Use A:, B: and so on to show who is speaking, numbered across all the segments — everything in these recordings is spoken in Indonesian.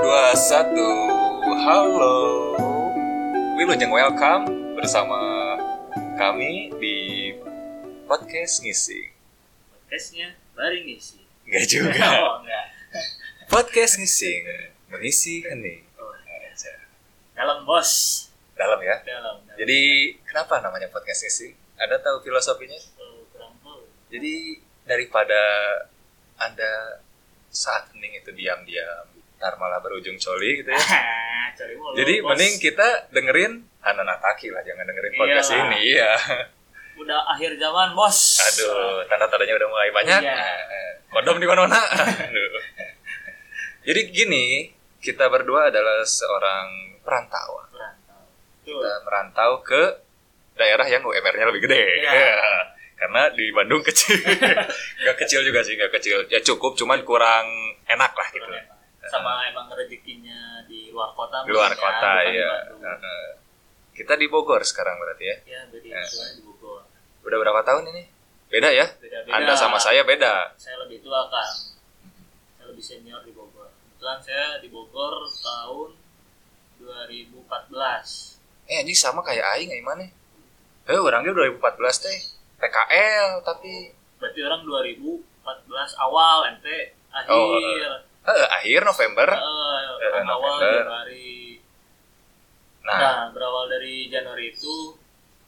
A: dua, satu. Halo. Wilujeng welcome bersama kami di podcast ngising.
B: podcastnya baring ngisi
A: Enggak juga.
B: oh enggak
A: Podcast ngising mengisi hening.
B: oh, enggak. dalam bos
A: Dalam ya.
B: dalam dalam.
A: Jadi kenapa namanya podcast ngising? Anda tahu filosofinya?
B: Oh, kurang tahu.
A: Jadi daripada Anda saat hening itu diam-diam, ntar malah berujung coli gitu ya.
B: Ah, cari mulu,
A: Jadi
B: bos.
A: mending kita dengerin Ananataki lah, jangan dengerin podcast
B: Iyalah.
A: ini. Iya.
B: udah akhir zaman bos
A: Aduh, tanda-tandanya udah mulai banyak.
B: Iya.
A: Kodom di mana Aduh. Jadi gini, kita berdua adalah seorang perantauan.
B: Merantau. Tuh.
A: Kita merantau ke daerah yang UMR-nya lebih gede.
B: Iya.
A: Iya. Karena di Bandung kecil. Gak kecil juga sih, gak kecil. Ya cukup, cuman kurang enak lah gitu.
B: Kurang enak. sama emang rezekinya di luar kota
A: Di luar
B: mungkin kan,
A: kota
B: bukan di
A: ya.
B: Bandung.
A: Heeh. Kita di Bogor sekarang berarti ya.
B: ya beda
A: Ya.
B: tua di Bogor
A: Udah berapa tahun ini? Beda ya?
B: Beda-beda.
A: Anda sama saya beda.
B: saya lebih tua kan saya lebih senior di Bogor kebetulan saya di Bogor tahun 2014
A: Eh anjing sama kayak aing aing mana? Eh orangnya 2014 teh. PKL tapi
B: berarti orang 2014 awal ente akhir
A: Oh, eh, akhir November.
B: Eh,
A: eh, November.
B: awal Januari nah.
A: Nah,
B: berawal dari Januari itu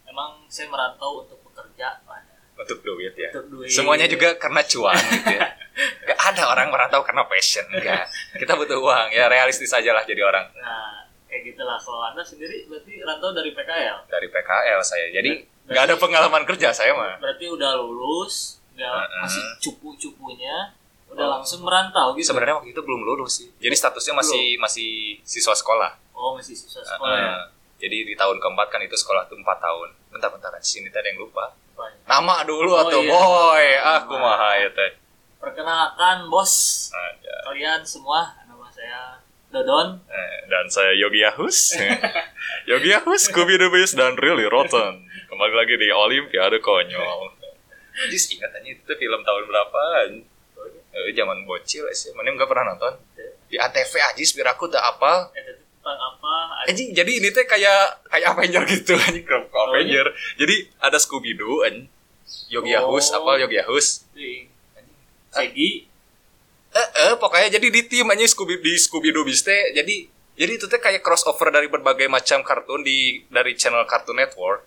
B: emang saya merantau untuk bekerja mana
A: untuk duit ya.
B: untuk duit
A: Semuanya juga karena cuan gitu ya. Gak ada orang merantau karena passion, enggak. Kita butuh uang ya, realistis aja lah jadi orang
B: nah kayak gitulah kalau anda sendiri berarti rantau dari PKL
A: dari PKL saya. Jadi
B: Berarti-
A: nggak ada pengalaman kerja saya mah.
B: berarti udah lulus nggak
A: Heeh.
B: masih cupu-cupunya udah
A: Oh.
B: langsung merantau gitu
A: Sebenarnya waktu itu belum lulus sih. Jadi statusnya masih masih siswa sekolah.
B: oh masih susah sekolah ya
A: Heeh. Jadi di tahun keempat kan itu sekolah tuh 4 tahun. Bentar-bentar sini tadi yang lupa.
B: Apa ya?
A: Nama dulu
B: Oh,
A: atau
B: iya.
A: boy, aku maha ya teh.
B: perkenalkan bos
A: Ada.
B: kalian semua nama saya Dodon
A: Eh, Dan saya Yogi Ahus. Yogi Ahus, Kubi the Beast, dan Really Rotten. Kembali lagi di Olimpiade Konyol. Jis ingat aja itu tuh film tahun berapa? Eh, zaman bocil sih, mana nggak pernah nonton? Di ATV aja, biar aku tak apa.
B: Eh, tapi tentang apa ada
A: Anjing, jadi ini teh kayak kayak Avenger gitu, anjing ke ke Avenger. Jadi ada Scooby Doo, anjing. Yogi Ahus,
B: Oh.
A: apa Yogi Ahus?
B: di Segi
A: Eh, eh, pokoknya jadi di tim aja Scooby di Scooby Doo Beast teh. Jadi jadi itu teh kayak crossover dari berbagai macam kartun di dari channel Cartoon Network.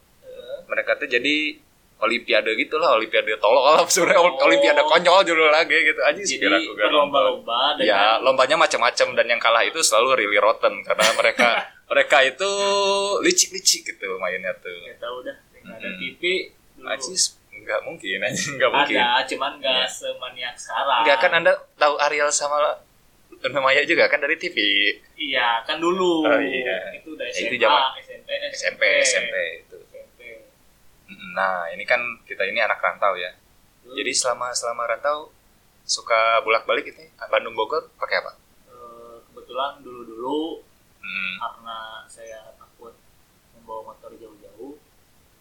A: Mereka tuh jadi olimpiade gitu lah, olimpiade tolol lah sebenarnya Ol-
B: Oh.
A: olimpiade konyol judul lagi gitu aja
B: jadi
A: Sekira aku gak nonton.
B: berlomba-lomba kan?
A: Ya,
B: dengan
A: lombanya macam-macam dan yang kalah itu selalu really rotten karena mereka mereka itu licik-licik gitu mainnya tuh.
B: nggak tahu dah yang ada
A: Mm-mm.
B: TV dulu
A: Ajis nggak mungkin, anjing nggak mungkin.
B: ada cuman
A: Iya.
B: nggak semaniak sekarang
A: Nggak kan Anda tahu Ariel sama Luna Maya juga kan dari TV.
B: iya kan dulu
A: Oh, iya.
B: itu udah
A: Ya,
B: SMA
A: itu zaman-
B: SMP
A: SMP, SMP itu.
B: SMP.
A: Nah, ini kan kita ini anak rantau ya.
B: Hmm. Dulu,
A: Jadi selama selama rantau suka bolak-balik gitu ya. Bandung Bogor pakai apa?
B: eh, kebetulan dulu-dulu
A: Hmm.
B: karena saya takut membawa motor jauh-jauh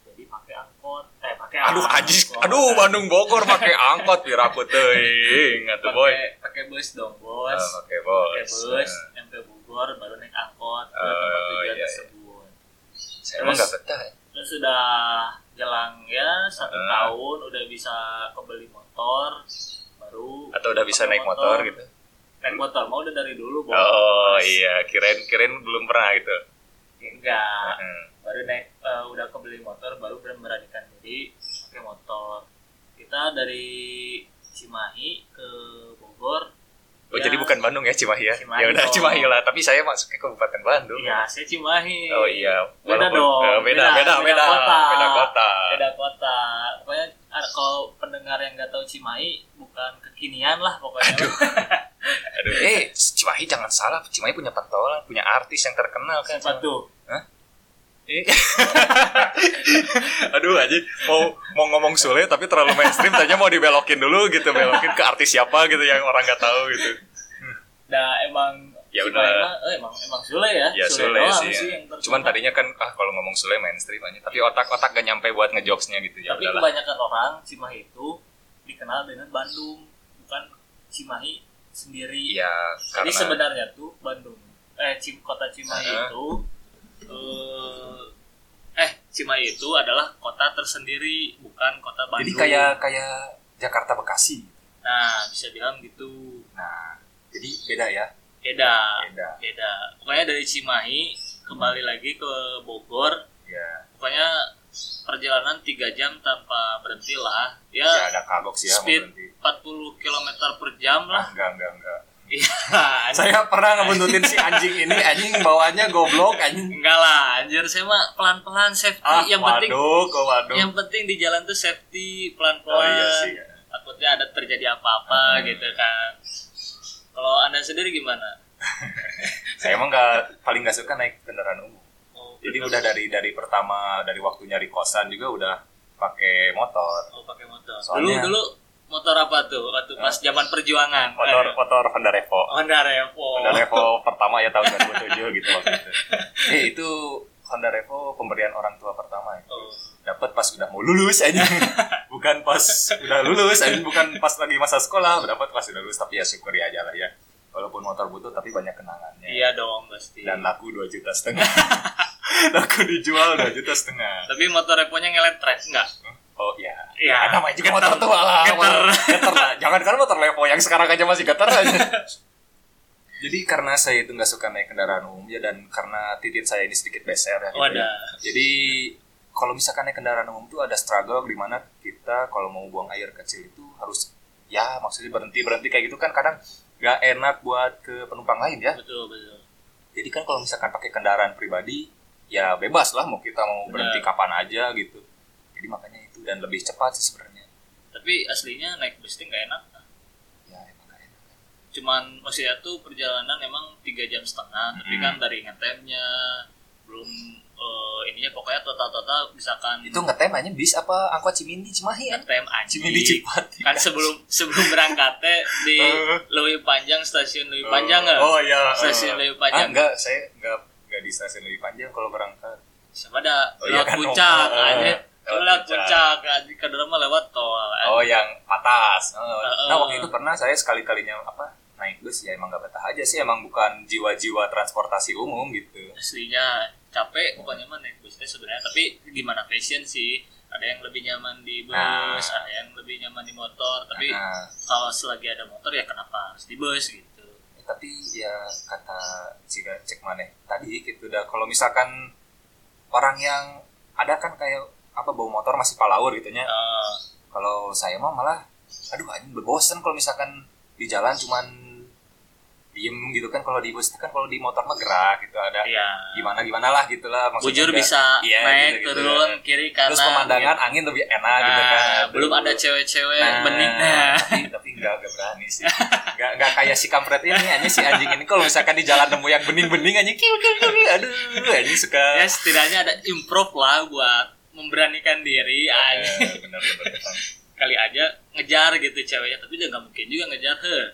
B: jadi pakai angkot eh pakai
A: Aduh
B: angkot.
A: ajis, aduh Bandung Bogor pakai angkot biar aku teuing atuh boy.
B: pakai pakai bus dong bos
A: Ah, Pakai
B: pakai
A: bos.
B: bus nyampe Bogor baru naik angkot ke tempat
A: Oh,
B: tujuan
A: uh, iya, iya.
B: tersebut
A: Eh, Saya emang enggak
B: Terus-
A: betah. ya.
B: terus sudah jelang ya satu
A: Ah.
B: tahun udah bisa kebeli motor baru
A: Atau udah bisa naik
B: pakai
A: motor gitu.
B: naik motor mau udah dari dulu bos
A: Oh iya, kirain kirain belum pernah gitu.
B: Ya, enggak
A: Hmm.
B: baru naik eh, udah kebeli motor baru ber- beranikan diri pakai motor kita dari Cimahi ke Bogor
A: Oh
B: Ya.
A: jadi bukan Bandung ya Cimahi ya?
B: Cimahi
A: Ya udah
B: dong.
A: Cimahi lah, tapi saya masuk ke Kabupaten Bandung.
B: iya saya Cimahi
A: Oh iya,
B: Beda dong.
A: eh, beda,
B: Beda,
A: beda, beda,
B: beda kota.
A: Beda kota.
B: beda kota pokoknya ada- kalau pendengar yang nggak tahu Cimahi bukan kekinian lah pokoknya
A: Aduh, eh, Cimahi jangan salah. Cimahi punya pentolan, punya artis yang terkenal kan.
B: siapa tuh
A: Eh. Aduh, aja mau mau ngomong Sule tapi terlalu mainstream, tanya mau dibelokin dulu gitu, belokin ke artis siapa gitu yang orang nggak tahu gitu.
B: Nah emang
A: Ya udah.
B: Cimahi mah- eh, emang emang Sule ya.
A: Ya Sule
B: doang
A: sih. ya.
B: yang terkenal.
A: Cuman tadinya kan ah kalau ngomong Sule mainstream aja, tapi otak-otak gak nyampe buat ngejokesnya gitu ya
B: tapi
A: udahlah.
B: kebanyakan orang Cimahi itu dikenal dengan Bandung bukan Cimahi sendiri.
A: Iya,
B: Jadi
A: karena
B: sebenarnya tuh Bandung eh Cim kota Cimahi
C: Ah.
B: itu eh, eh Cimahi itu adalah kota tersendiri bukan kota Bandung.
A: Jadi kayak kayak Jakarta Bekasi.
B: nah bisa bilang gitu
A: Nah, jadi beda ya.
B: beda
A: Beda.
B: beda. Pokoknya dari Cimahi kembali lagi ke Bogor
A: Ya,
B: pokoknya perjalanan 3 jam tanpa berhenti lah ya
A: ya ada kagok sih ya mau
B: Speed.
A: berhenti.
B: 40 km per jam
A: Ah,
B: lah
A: enggak, enggak, enggak.
B: iya
A: Saya pernah ngebuntutin si anjing ini, anjing bawaannya goblok, anjing.
B: enggak lah anjir saya mah pelan-pelan safety
A: Ah,
B: Iya, yang
A: waduh,
B: penting
A: kok waduh.
B: yang penting di jalan tuh safety
A: Oh
B: pelan-pelan
A: iya sih. ya.
B: takutnya ada terjadi apa-apa
A: Hmm.
B: gitu kan kalau anda sendiri gimana
A: Saya emang nggak paling nggak suka naik kendaraan umum.
B: oh,
A: Jadi
B: bener.
A: udah dari dari pertama dari waktu nyari kosan juga udah pakai motor,
B: oh pakai motor
A: Soalnya-
B: dulu dulu motor apa tuh waktu pas zaman perjuangan
A: motor
B: Eh,
A: motor Honda Revo.
B: Honda Revo
A: Honda Revo pertama ya tahun 2007 gitu waktu itu. Eh itu Honda Revo pemberian orang tua pertama ya.
B: Oh.
A: Dapat pas udah mau lulus aja. bukan pas udah lulus, aja. bukan pas lagi masa sekolah, dapat pas udah lulus tapi ya syukuri aja lah ya. Walaupun motor butuh tapi banyak kenangannya.
B: iya dong pasti
A: Dan laku 2 juta setengah. laku dijual 2 juta setengah.
B: tapi motor Revonya ngelet track enggak
A: Oh iya.
B: Iya.
A: Ya, namanya juga motor tua lah.
B: Geter.
A: Geter lah. Jangan kan motor Levo yang sekarang aja masih geter aja. Jadi karena saya itu nggak suka naik kendaraan umum ya dan karena titik saya ini sedikit beser ya. gitu ya.
B: Wadah.
A: Jadi kalau misalkan naik kendaraan umum tuh ada struggle di mana kita kalau mau buang air kecil itu harus ya maksudnya berhenti berhenti kayak gitu kan kadang nggak enak buat ke penumpang lain ya.
B: betul betul
A: Jadi kan kalau misalkan pakai kendaraan pribadi, ya bebas lah mau kita mau berhenti
B: Benar.
A: kapan aja gitu. Jadi makanya itu dan lebih cepat sih sebenarnya.
B: tapi aslinya naik bus itu nggak enak
A: Ya emang gak enak.
B: cuman maksudnya tuh perjalanan emang tiga jam setengah tapi
A: Hmm.
B: kan dari ngetemnya belum eh, ininya pokoknya total-total misalkan
A: Itu ngetem hanya bis apa angkot Cimindi Cimahi ya?
B: ngetem anjing
A: Cimindi Cipati.
B: kan sebelum sebelum berangkatnya di
A: Eh.
B: Lewi Panjang stasiun Lewi Panjang nggak?
A: Oh iya.
B: Stasiun Lewi
A: Ah,
B: Panjang
A: enggak, saya enggak enggak di stasiun lebih panjang kalau berangkat.
B: siapa ada
A: Oh, iya
B: lewat
A: kan,
B: puncak
A: oh, eh,
B: anjir
A: lewat
B: lewat
A: puncak.
B: puncak anjir kadang mah lewat tol
A: Oh, yang atas. Oh.
B: Heeh.
A: Nah, waktu itu pernah saya sekali-kalinya apa? naik bus ya emang gak betah aja sih emang bukan jiwa-jiwa transportasi umum gitu
B: aslinya capek pokoknya mah naik busnya sebenarnya tapi gimana fashion sih ada yang lebih nyaman di bus
A: Nah.
B: ada yang lebih nyaman di motor tapi
A: Nah,
B: kalau selagi ada motor ya kenapa harus di bus gitu
A: tapi ya kata jika cek maneh tadi gitu dah kalau misalkan orang yang ada kan kayak apa bawa motor masih palaur gitu nya
B: Eh,
A: kalau saya mah malah aduh anjing berbosan kalau misalkan di jalan cuman diem gitu kan kalau di bus itu kan kalau di motor mah gerak gitu ada
B: ya
A: gimana gimana lah gitulah
B: bujur
A: ada-
B: bisa
A: Iya,
B: naik
A: gitu-gitu.
B: turun kiri kanan
A: terus pemandangan angin lebih enak
B: gitu.
A: gitu kan
B: Nah,
A: Aduh.
B: belum ada cewek-cewek
A: Nah,
B: bening nah
A: tapi, tapi enggak, enggak berani sih enggak, enggak kayak si kampret ini hanya si anjing ini kalau misalkan di jalan nemu yang bening-bening anjing kiu kiu kiu kiu. aduh anjing suka Iya,
B: ya setidaknya ada improve lah buat memberanikan diri anjing.
A: Eh, benar benar benar.
B: kali aja ngejar gitu ceweknya tapi dia nggak mungkin juga ngejar heh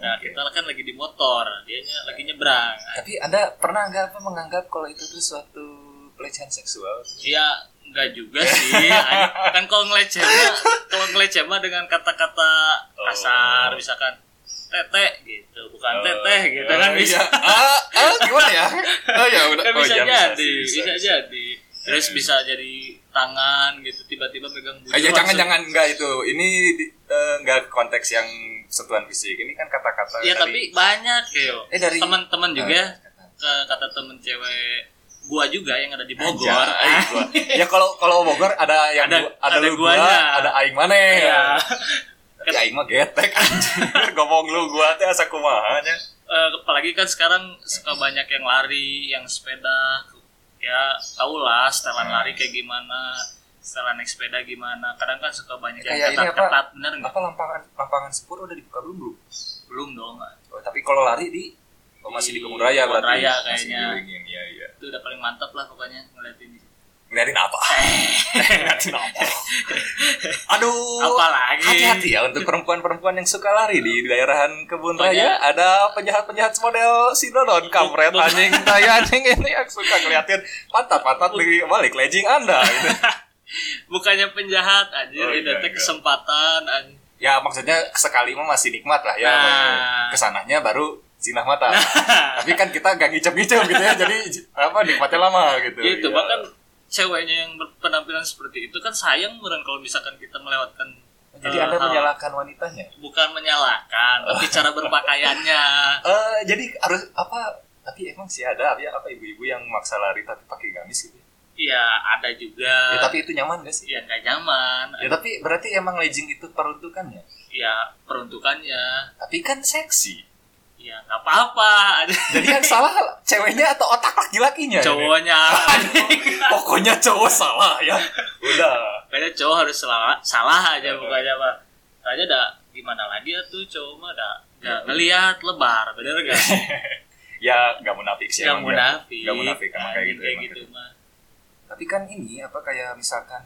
B: nah
A: Oke.
B: kita kan lagi di motor dianya lagi nyebrang
A: tapi anda pernah nggak apa menganggap kalau itu tuh suatu pelecehan seksual
B: ya nggak juga sih Anjing. kan kalau ngeleceh mah kalau ngeleceh mah dengan kata-kata
A: Oh.
B: kasar misalkan tete gitu bukan
A: Eh,
B: teteh gitu kan
A: eh,
B: bisa
A: iya. ah, ah, gimana ya oh ya udah
B: kan
A: oh,
B: bisa
A: iya,
B: jadi
A: sih,
B: bisa,
A: bisa.
B: jadi terus
A: Eh.
B: bisa jadi tangan gitu tiba-tiba megang bulu
A: Eh, ya, jangan jangan enggak itu ini di- eh, enggak konteks yang sentuhan fisik ini kan kata-kata
B: ya
A: dari-
B: tapi banyak yo
A: Eh, dari-
B: teman-teman juga
A: Eh,
B: ke kata temen cewek gua juga yang ada di Bogor Iya.
A: Bogor. ya kalau kalau Bogor ada yang
B: Ada-
A: ada, ada,
B: ada
A: lu gua,
B: guanya.
A: ada aing mana ya.
B: ya
A: Tapi aing mah getek anjir. Ngomong lu gua teh asa kumaha nya.
B: Eh, apalagi kan sekarang suka banyak yang lari, yang sepeda, ya tau lah setelan
A: Hmm.
B: lari kayak gimana, setelan naik sepeda gimana. Kadang kan suka banyak yang
A: Kayak ini apa?
B: ketat-ketat, bener nggak?
A: Apa lapangan lapangan sepur udah dibuka belum belum?
B: Belum dong,
A: Oh, tapi kalau lari di oh, masih di Kebun Raya
B: Kebun
A: berarti.
B: Raya
A: Masih
B: kayaknya.
A: diwingin, iya iya.
B: itu udah paling mantap lah pokoknya ngeliatin.
A: Ngeliatin apa? Ngeliatin apa? Aduh.
B: Apalagi.
A: Hati-hati ya untuk perempuan-perempuan yang suka lari di daerahan Kebun
B: Pokoknya-
A: Raya ada penjahat-penjahat model si Dodon
B: Iya,
A: kampret
B: Buk- buk-
A: anjing saya anjing ini yang suka ngeliatin pantat-pantat di balik legging Anda gitu.
B: Bukannya penjahat, anjir,
A: Oh,
B: ini
A: iya, Oh,
B: teh
A: iya.
B: kesempatan, anjir.
A: Ya maksudnya sekali mah masih nikmat lah ya.
B: Nah.
A: Kesananya baru Cina mata. Tapi kan kita gak ngicap-ngicap gitu ya. Jadi apa nikmatnya lama gitu.
B: itu
A: Iya.
B: bahkan ceweknya yang berpenampilan seperti itu kan sayang beneran kalau misalkan kita melewatkan
A: Jadi
B: eh,
A: Anda
B: hal-
A: menyalahkan wanitanya.
B: bukan menyalahkan tapi cara berpakaiannya
A: Eh jadi harus apa tapi emang sih ada ya apa ibu-ibu yang maksa lari tapi pakai gamis gitu.
B: ya ada juga
A: ya tapi itu nyaman gak sih?
B: ya nggak nyaman
A: Ya tapi berarti emang legging itu peruntukannya.
B: ya peruntukannya
A: Tapi kan seksi.
B: ya nggak apa-apa ada
A: Jadi kan iya, yang salah ceweknya atau otak laki-lakinya? ini?
B: cowoknya
A: Pokoknya cowok salah ya. Udah.
B: kayaknya cowok harus salah salah
A: Iya.
B: aja bukannya pak kayaknya ada gimana lagi ya tuh cowok mah ada nggak ngelihat lebar bener gak
A: Ya gak munafik sih.
B: nggak
A: Iya, emang ya.
B: munafik
A: nggak munafik, emang kayak
B: Anjing,
A: gitu, emang gitu.
B: mah
A: Tapi kan ini apa kayak misalkan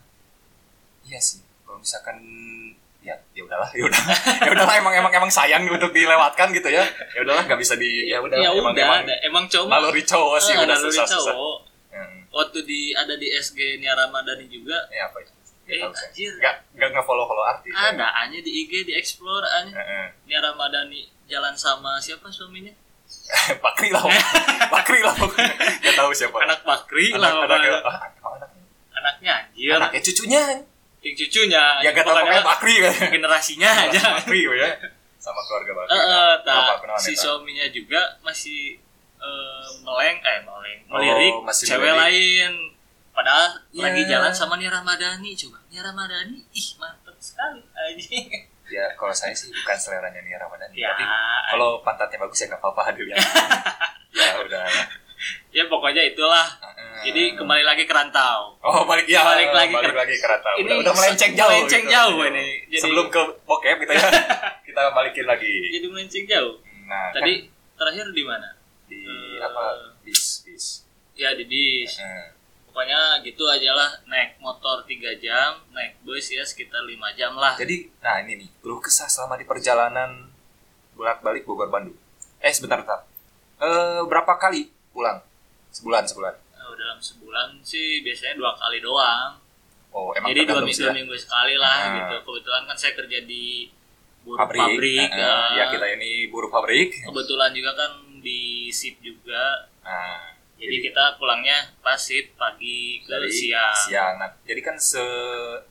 A: Iya sih. Kalau misalkan ya ya udahlah ya udah ya udahlah emang emang emang sayang untuk dilewatkan gitu ya ya udahlah nggak bisa di ya udah
B: ya
A: emang
B: udah
A: emang
B: ada- emang cowok mah
A: naluri cowok sih
B: eh,
A: udah
B: naluri
A: susah susah
B: cowok
A: Hmm,
B: waktu di ada di SG nya Ramadhani juga
A: ya apa itu nggak
B: eh
A: tahu saya
B: anjir
A: nggak nggak follow follow arti
B: ada hanya di IG di explore hanya
A: Heeh.
B: Nia Ramadhani jalan sama siapa suaminya
A: Pakri lah Pakri lah pokoknya nggak tahu siapa
B: anak Bakri
A: anak anak,
B: lah pokoknya.
A: ah, emang anak,
B: anaknya anjir
A: anaknya cucunya
B: yang cucunya
A: ya nggak tahu
B: Nah, Pokoknya
A: pokoknya Pakri kan
B: generasinya aja
A: Bakri ya sama keluarga
B: Eh,
A: Bakri
B: eh,
A: Kenapa?
B: tak.
A: Kenapa, ya,
B: si
A: Neta?
B: suaminya juga masih eh, meleng, eh meleng, melirik
A: Oh, masih
B: cewek
A: melirik.
B: lain. Padahal
A: Ya.
B: lagi jalan sama Nia Ramadhani coba. Nia Ramadhani, ih mantep sekali anjing.
A: ya kalau saya sih bukan seleranya nih Ramadan
B: ya,
A: tapi kalau pantatnya bagus ya nggak apa-apa dilihat ya udah lah.
B: ya pokoknya itulah.
A: Heeh.
B: Jadi kembali lagi ke rantau.
A: Oh balik ya
B: Balik lagi ke-
A: balik lagi ke rata.
B: Ini
A: udah, udah melenceng jauh.
B: melenceng
A: gitu.
B: jauh ini. Jadi-
A: Sebelum ke bokep kita ya kita balikin lagi.
B: Jadi melenceng jauh.
A: Nah kan
B: Tadi terakhir di mana?
A: di
B: eh,
A: apa bis bis. Nah,
B: Ya di bis.
A: Heeh.
B: Pokoknya gitu aja lah. Naik motor 3 jam, naik bus ya sekitar 5 jam lah. Eh,
A: Jadi nah ini nih keluh kesah selama di perjalanan bolak balik Bogor Bandung. Eh sebentar bentar. Eh berapa kali pulang? Sebulan sebulan.
B: Eh, dalam sebulan sih biasanya dua kali doang.
A: Oh emang
B: Jadi dua
A: tergantung
B: minggu,
A: sih
B: dua
A: ya.
B: minggu sekali lah
A: Ah.
B: gitu. Kebetulan kan saya kerja di buruh
A: Pabrik.
B: pabrik.
A: Heeh.
B: eh,
A: Ya kita ini buruh pabrik.
B: Kebetulan juga kan di sip juga.
A: Nah,
B: Jadi, kita pulangnya pas sip pagi ke
A: dari
B: siang.
A: siang. Nah, jadi kan se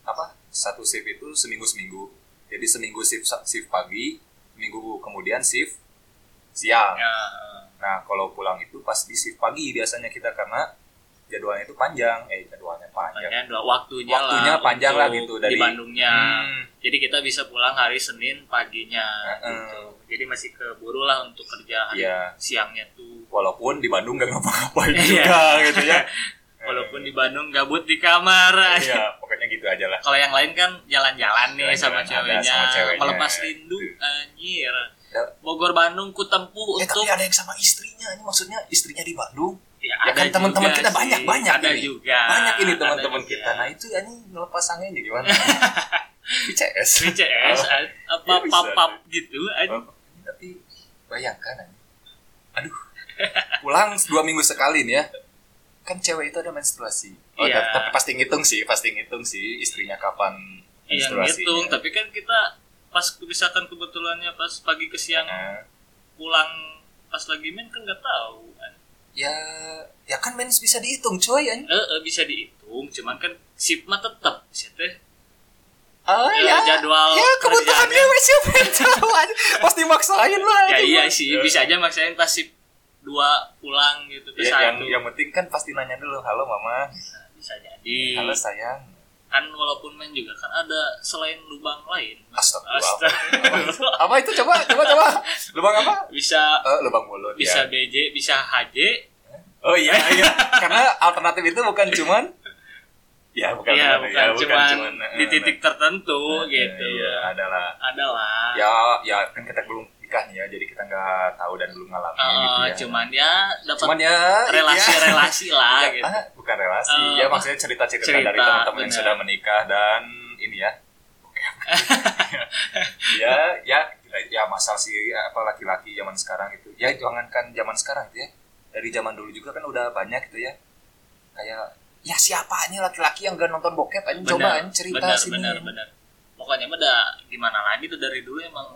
A: apa satu shift itu seminggu seminggu. Jadi seminggu shift shift pagi, minggu kemudian shift siang.
B: Ya,
A: Nah, kalau pulang itu pas di shift pagi biasanya kita karena jadwalnya itu panjang. Eh, jadwalnya panjang.
B: makanya dua waktunya,
A: Waktunya
B: lah
A: panjang lah
B: untuk
A: gitu dari-
B: di Bandungnya.
A: Hmm,
B: Jadi kita bisa pulang hari Senin paginya
A: Heeh.
B: gitu. Jadi masih keburu lah untuk kerja hari
A: Iya.
B: siangnya tuh.
A: walaupun di Bandung gak ngapa-ngapain
B: Iya.
A: juga gitu ya.
B: Walaupun di Bandung gabut di kamar.
A: Eh, Iya, pokoknya gitu aja lah.
B: kalau yang lain kan jalan-jalan nih
A: Jalan-jalan
B: sama
A: ada
B: ceweknya,
A: sama ceweknya. Iya.
B: melepas rindu anjir
A: Ya.
B: Bogor Bandung ku tempuh
A: Eh,
B: untuk
A: tapi ada yang sama istrinya. Ini maksudnya istrinya di Bandung.
B: ya,
A: ya kan
B: juga
A: teman-teman kita
B: sih.
A: banyak-banyak
B: ada
A: ini.
B: juga
A: banyak ini
B: Ada
A: teman-teman
B: juga.
A: kita nah itu ini ngelepas anginnya gimana ICS
B: VCS
A: Oh.
B: a- apa
A: Iya, bisa.
B: pop up gitu aja
A: Oh, tapi bayangkan anjing. aduh pulang dua minggu sekali nih ya kan cewek itu ada menstruasi oh
B: Iya.
A: tapi pasti ngitung sih pasti ngitung sih istrinya kapan
B: yang
A: menstruasi
B: Iya,
A: Iya.
B: ngitung tapi kan kita pas misalkan kebetulannya pas pagi ke siang pulang pas lagi main kan nggak tahu
A: ya ya kan mens bisa dihitung coy anjing.
B: eh eh, bisa dihitung cuman kan sip mah tetap sih teh
A: ah
B: Eh, jadwal
A: ya kebutuhan
B: kerjaannya.
A: cewek siapa yang tahu anjing. pasti maksain lah
B: ya
A: anjing.
B: iya sih bisa aja maksain pas sip dua pulang gitu ke
A: Ya, yang
B: satu
A: yang penting kan pasti nanya dulu halo mama
B: bisa jadi
A: halo sayang
B: kan walaupun main juga kan ada selain lubang lain
A: Astagfirullah.
B: Astagfirullah.
A: apa itu coba coba coba lubang apa
B: bisa
A: Eh, lubang mulut ya
B: bisa BJ bisa HJ
A: oh iya iya karena alternatif itu bukan cuman ya bukan
B: ya bukan,
A: ya,
B: cuman,
A: eh,
B: di titik tertentu
A: eh,
B: gitu
A: iya adalah
B: adalah
A: ya ya kan kita belum nikah nih ya jadi kita nggak tahu dan belum ngalamin
B: Eh,
A: gitu ya
B: cuman ya
A: cuman
B: dapat
A: ya ya.
B: relasi-relasi lah
A: Ya,
B: gitu
A: ah, bukan relasi
B: Eh,
A: ya
B: apa?
A: maksudnya cerita cerita dari
B: Cerita,
A: teman-teman yang
B: benar.
A: sudah menikah dan ini ya ya ya ya masalah sih apa laki-laki zaman sekarang itu ya jangankan zaman sekarang gitu ya dari zaman dulu juga kan udah banyak gitu ya kayak ya siapa ini laki-laki yang gak nonton bokep anjing coba
B: Benar,
A: anjing cerita
B: benar,
A: sini
B: benar benar pokoknya mah dah gimana lagi tuh dari dulu emang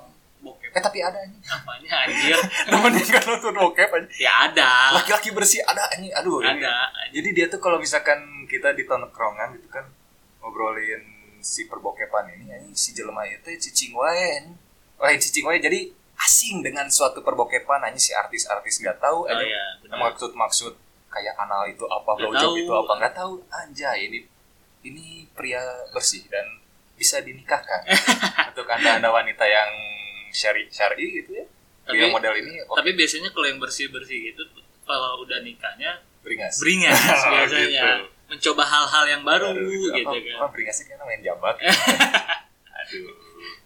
B: bokep
A: Eh tapi ada anjing.
B: apanya anjir
A: Temen yang gak nonton bokep anjing.
B: ya ada
A: Laki-laki bersih ada anjing. Aduh. ini-
B: ada
A: Jadi dia tuh kalau misalkan kita di tongkrongan gitu kan ngobrolin si perbokepan ini anjing si jelema itu cicing wae anjing. Lain cicing wae jadi asing dengan suatu perbokepan anjing si artis-artis gak tahu
B: oh
A: anjing.
B: ya
A: Nah,
B: benar
A: maksud-maksud kayak anal itu apa
B: Nggak
A: blowjob
B: tahu.
A: itu apa nggak tahu anjay ini ini pria bersih dan bisa dinikahkan untuk anda anda wanita yang syari syari gitu ya
B: Tapi-
A: pria model ini oh,
B: tapi biasanya kalau yang bersih bersih gitu kalau udah nikahnya
A: beringas
B: beringas biasanya
C: gitu.
B: mencoba hal-hal yang baru gitu
A: apa, apa
B: kan
A: beringasnya kayaknya main jambak aduh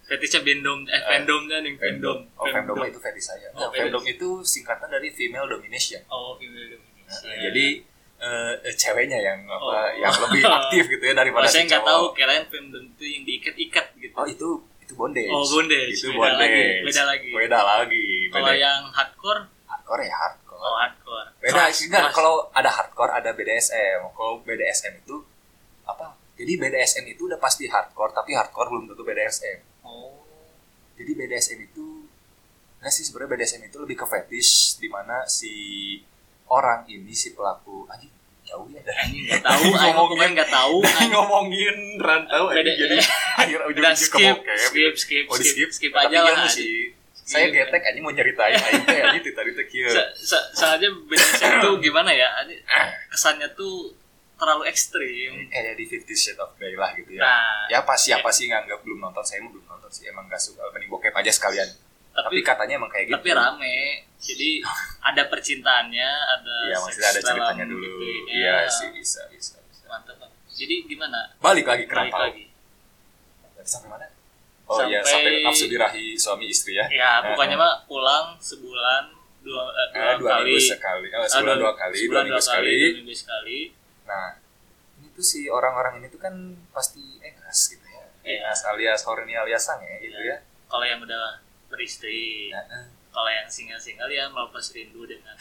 B: fetishnya bendom eh pendom kan yang
A: fandom
B: pendom
A: oh fandom itu fetish saya
B: Oh,
A: Nah,
B: fetish.
A: fandom itu singkatan dari female domination
B: oh Iya. female domination
A: Nah, jadi eh, eh, ceweknya yang apa
B: Oh.
A: yang lebih aktif gitu ya
B: Oh,
A: daripada si
B: saya nggak
A: cowok
B: tahu kirain femdom itu yang diikat-ikat gitu.
A: Oh itu itu bondage.
B: Oh, bondage.
A: Itu
B: Beda
A: bondage.
B: lagi, beda lagi.
A: Beda lagi. Beda.
B: Kalau yang hardcore,
A: Hardcore ya hardcore.
B: oh hardcore.
A: beda
B: Keras,
A: enggak
B: keras.
A: kalau ada hardcore ada BDSM. Kalau BDSM itu apa? Jadi BDSM itu udah pasti hardcore tapi hardcore belum tentu BDSM.
B: oh.
A: Jadi BDSM itu enggak sih sebenarnya BDSM itu lebih ke fetish di mana si orang ini si pelaku anjing jauh ya dari
B: Anjing nggak tahu, anjing
A: Ngomongin.
B: pemain nggak tahu. anjing.
A: ngomongin rantau
B: Beda-
A: anjing jadi akhir
B: Udah
A: ujung-ujung ke
B: skip,
A: bokep.
B: skip, skip,
A: Oh di skip,
B: skip, skip aja lah. anjing.
A: sih. Saya getek anjing mau nyeritain aing teh anjing teh tadi teh kieu.
B: Sa- sa- Soalnya bedanya itu gimana ya? anjing, Kesannya tuh terlalu ekstrim.
A: Kayak di Fifty Shades of Grey lah gitu ya.
B: Nah,
A: Ya pas siapa sih nganggap belum nonton? Saya mah belum nonton sih. Emang gak suka mending bokep aja sekalian. Tapi,
B: tapi
A: katanya emang kayak gitu.
B: tapi rame. Jadi ada percintaannya, ada
A: Iya,
B: seks
A: maksudnya ada
B: dalam
A: ceritanya dulu.
B: gitu ya.
A: Iya sih bisa bisa. bisa.
B: Mantap. Bang. Jadi gimana?
A: Balik lagi ke
B: Balik
A: rantau.
B: lagi.
A: Sampai mana? Oh iya
B: Sampai-
A: sampai nafsu birahi suami istri ya.
B: Ya, pokoknya mah pulang sebulan dua, eh, dua,
A: Eh, dua
B: kali.
A: minggu sekali, eh,
B: Ah,
A: sebulan dua kali, dua
B: sebulan
A: minggu sekali.
B: dua minggu sekali.
A: Nah, ini tuh si orang-orang ini tuh kan pasti engas gitu ya.
B: Iya.
A: Engas alias horny alias sang ya gitu ya.
B: Kalau yang udah beristri,
A: Nah, eh.
B: kalau yang single-single ya melepas rindu dengan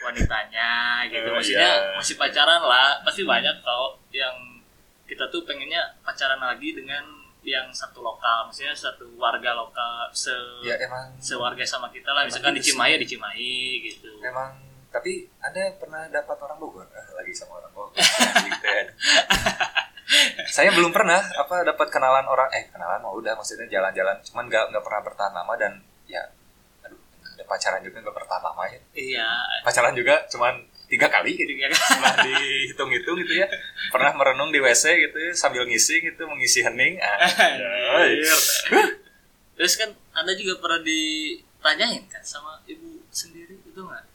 B: wanitanya gitu.
A: Eh,
B: Maksudnya
A: iya.
B: masih pacaran lah, pasti banyak kalau yang kita tuh pengennya pacaran lagi dengan yang satu lokal, maksudnya satu warga lokal se
A: ya emang
B: sewarga sama kita lah.
A: Emang
B: Misalkan di
A: gitu sih.
B: Cimahi ya di Cimahi gitu.
A: emang tapi anda pernah dapat orang Bogor Eh, lagi sama orang Bogor Gitu ya. saya belum pernah apa dapat kenalan orang eh kenalan mau udah maksudnya jalan-jalan cuman nggak nggak pernah bertahan lama dan ya aduh ada pacaran juga nggak bertahan lama ya
B: Iya.
A: pacaran juga cuman tiga kali gitu
B: Tiga
A: pernah dihitung-hitung gitu ya pernah merenung di WC gitu sambil ngisi gitu mengisi hening ah,
B: Anjir. Terus kan Anda juga pernah ditanyain kan sama ibu sendiri itu nggak?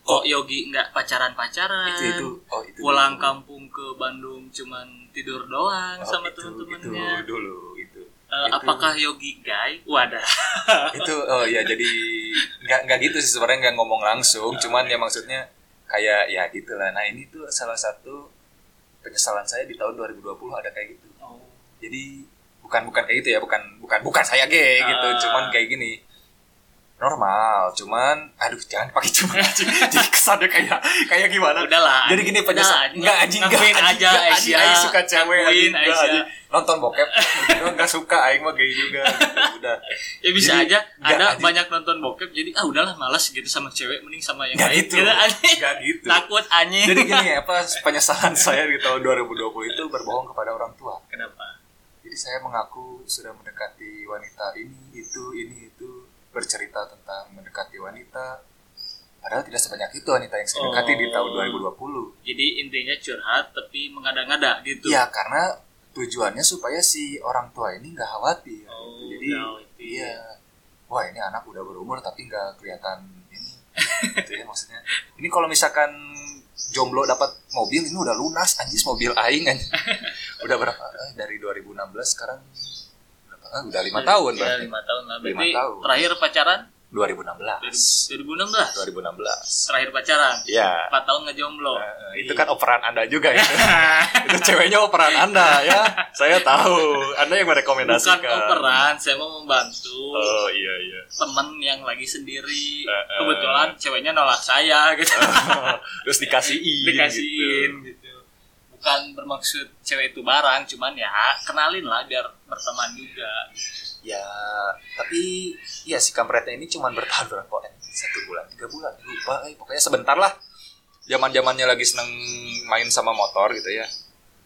B: Kok Yogi nggak pacaran-pacaran?
A: itu itu oh itu
B: Pulang
A: dulu.
B: kampung ke Bandung cuman tidur doang
A: Oh,
B: sama
A: itu- itu
B: teman-temannya.
A: dulu itu
B: Eh,
A: Itu.
B: apakah Yogi gay? Wadah.
A: itu oh ya jadi nggak nggak gitu sih sebenarnya nggak ngomong langsung cuman ya maksudnya kayak ya gitulah nah ini tuh salah satu penyesalan saya di tahun 2020 ada kayak gitu
B: Oh.
A: jadi bukan bukan kayak gitu ya bukan bukan bukan saya gay gitu
B: Ah.
A: cuman kayak gini normal cuman aduh jangan pakai cuman anjing. jadi kesannya kayak kayak gimana
B: Udahlah.
A: jadi gini penyesal
B: Enggak
A: nggak anjing nggak
B: ngakuin
A: anjing,
B: aja
A: nggak, anjing,
B: Aisyah.
A: Aing suka cewek
B: Ngakuin
A: anjing, nggak,
B: Aisyah.
A: anjing. nonton bokep nggak suka aing mah gay juga gitu. udah
B: Ya bisa
A: Jadi,
B: aja
A: nggak,
B: Anda
A: anjing.
B: banyak nonton bokep jadi ah udahlah malas gitu sama cewek mending sama yang
A: Nggak
B: lain.
A: gitu.
B: anjing.
A: Nggak gitu.
B: Takut anjing.
A: Jadi gini ya, apa penyesalan saya di tahun 2020 itu berbohong kepada orang tua.
B: kenapa?
A: Jadi saya mengaku sudah mendekati wanita ini, itu, ini, itu, bercerita tentang mendekati wanita. Padahal tidak sebanyak itu wanita yang saya dekati di tahun
B: Oh.
A: 2020.
B: Jadi intinya curhat tapi mengada-ngada gitu.
A: Iya, karena tujuannya supaya si orang tua ini nggak khawatir. gitu.
B: Oh,
A: Jadi,
B: ya,
A: iya, wah ini anak udah berumur tapi nggak kelihatan ini. gitu ya maksudnya. Ini kalau misalkan jomblo dapat mobil ini udah lunas anjis mobil aing anjing. udah berapa Eh, dari 2016 sekarang berapa Ah, udah lima tahun
B: ya,
A: berarti
B: lima tahun lah. Berarti
A: Lima tahun.
B: terakhir pacaran
A: 2016
B: 2016.
A: 2016
B: Terakhir pacaran.
A: ya
B: Empat tahun ngejomblo.
A: eh, itu
B: Iya.
A: kan operan anda juga itu itu ceweknya operan anda ya saya tahu anda yang
B: bukan
A: merekomendasikan
B: operan, saya mau membantu
C: Oh iya iya.
B: temen yang lagi sendiri.
C: Eh, eh.
B: Kebetulan ceweknya nolak saya gitu.
A: terus dikasihin
B: Dikasihin gitu. Bukan bermaksud cewek itu barang, cuman ya kenalin lah biar berteman juga.
A: ya tapi ya si kampretnya ini cuma bertahan berapa eh, satu bulan tiga bulan lupa eh, pokoknya sebentar lah zaman zamannya lagi seneng main sama motor gitu ya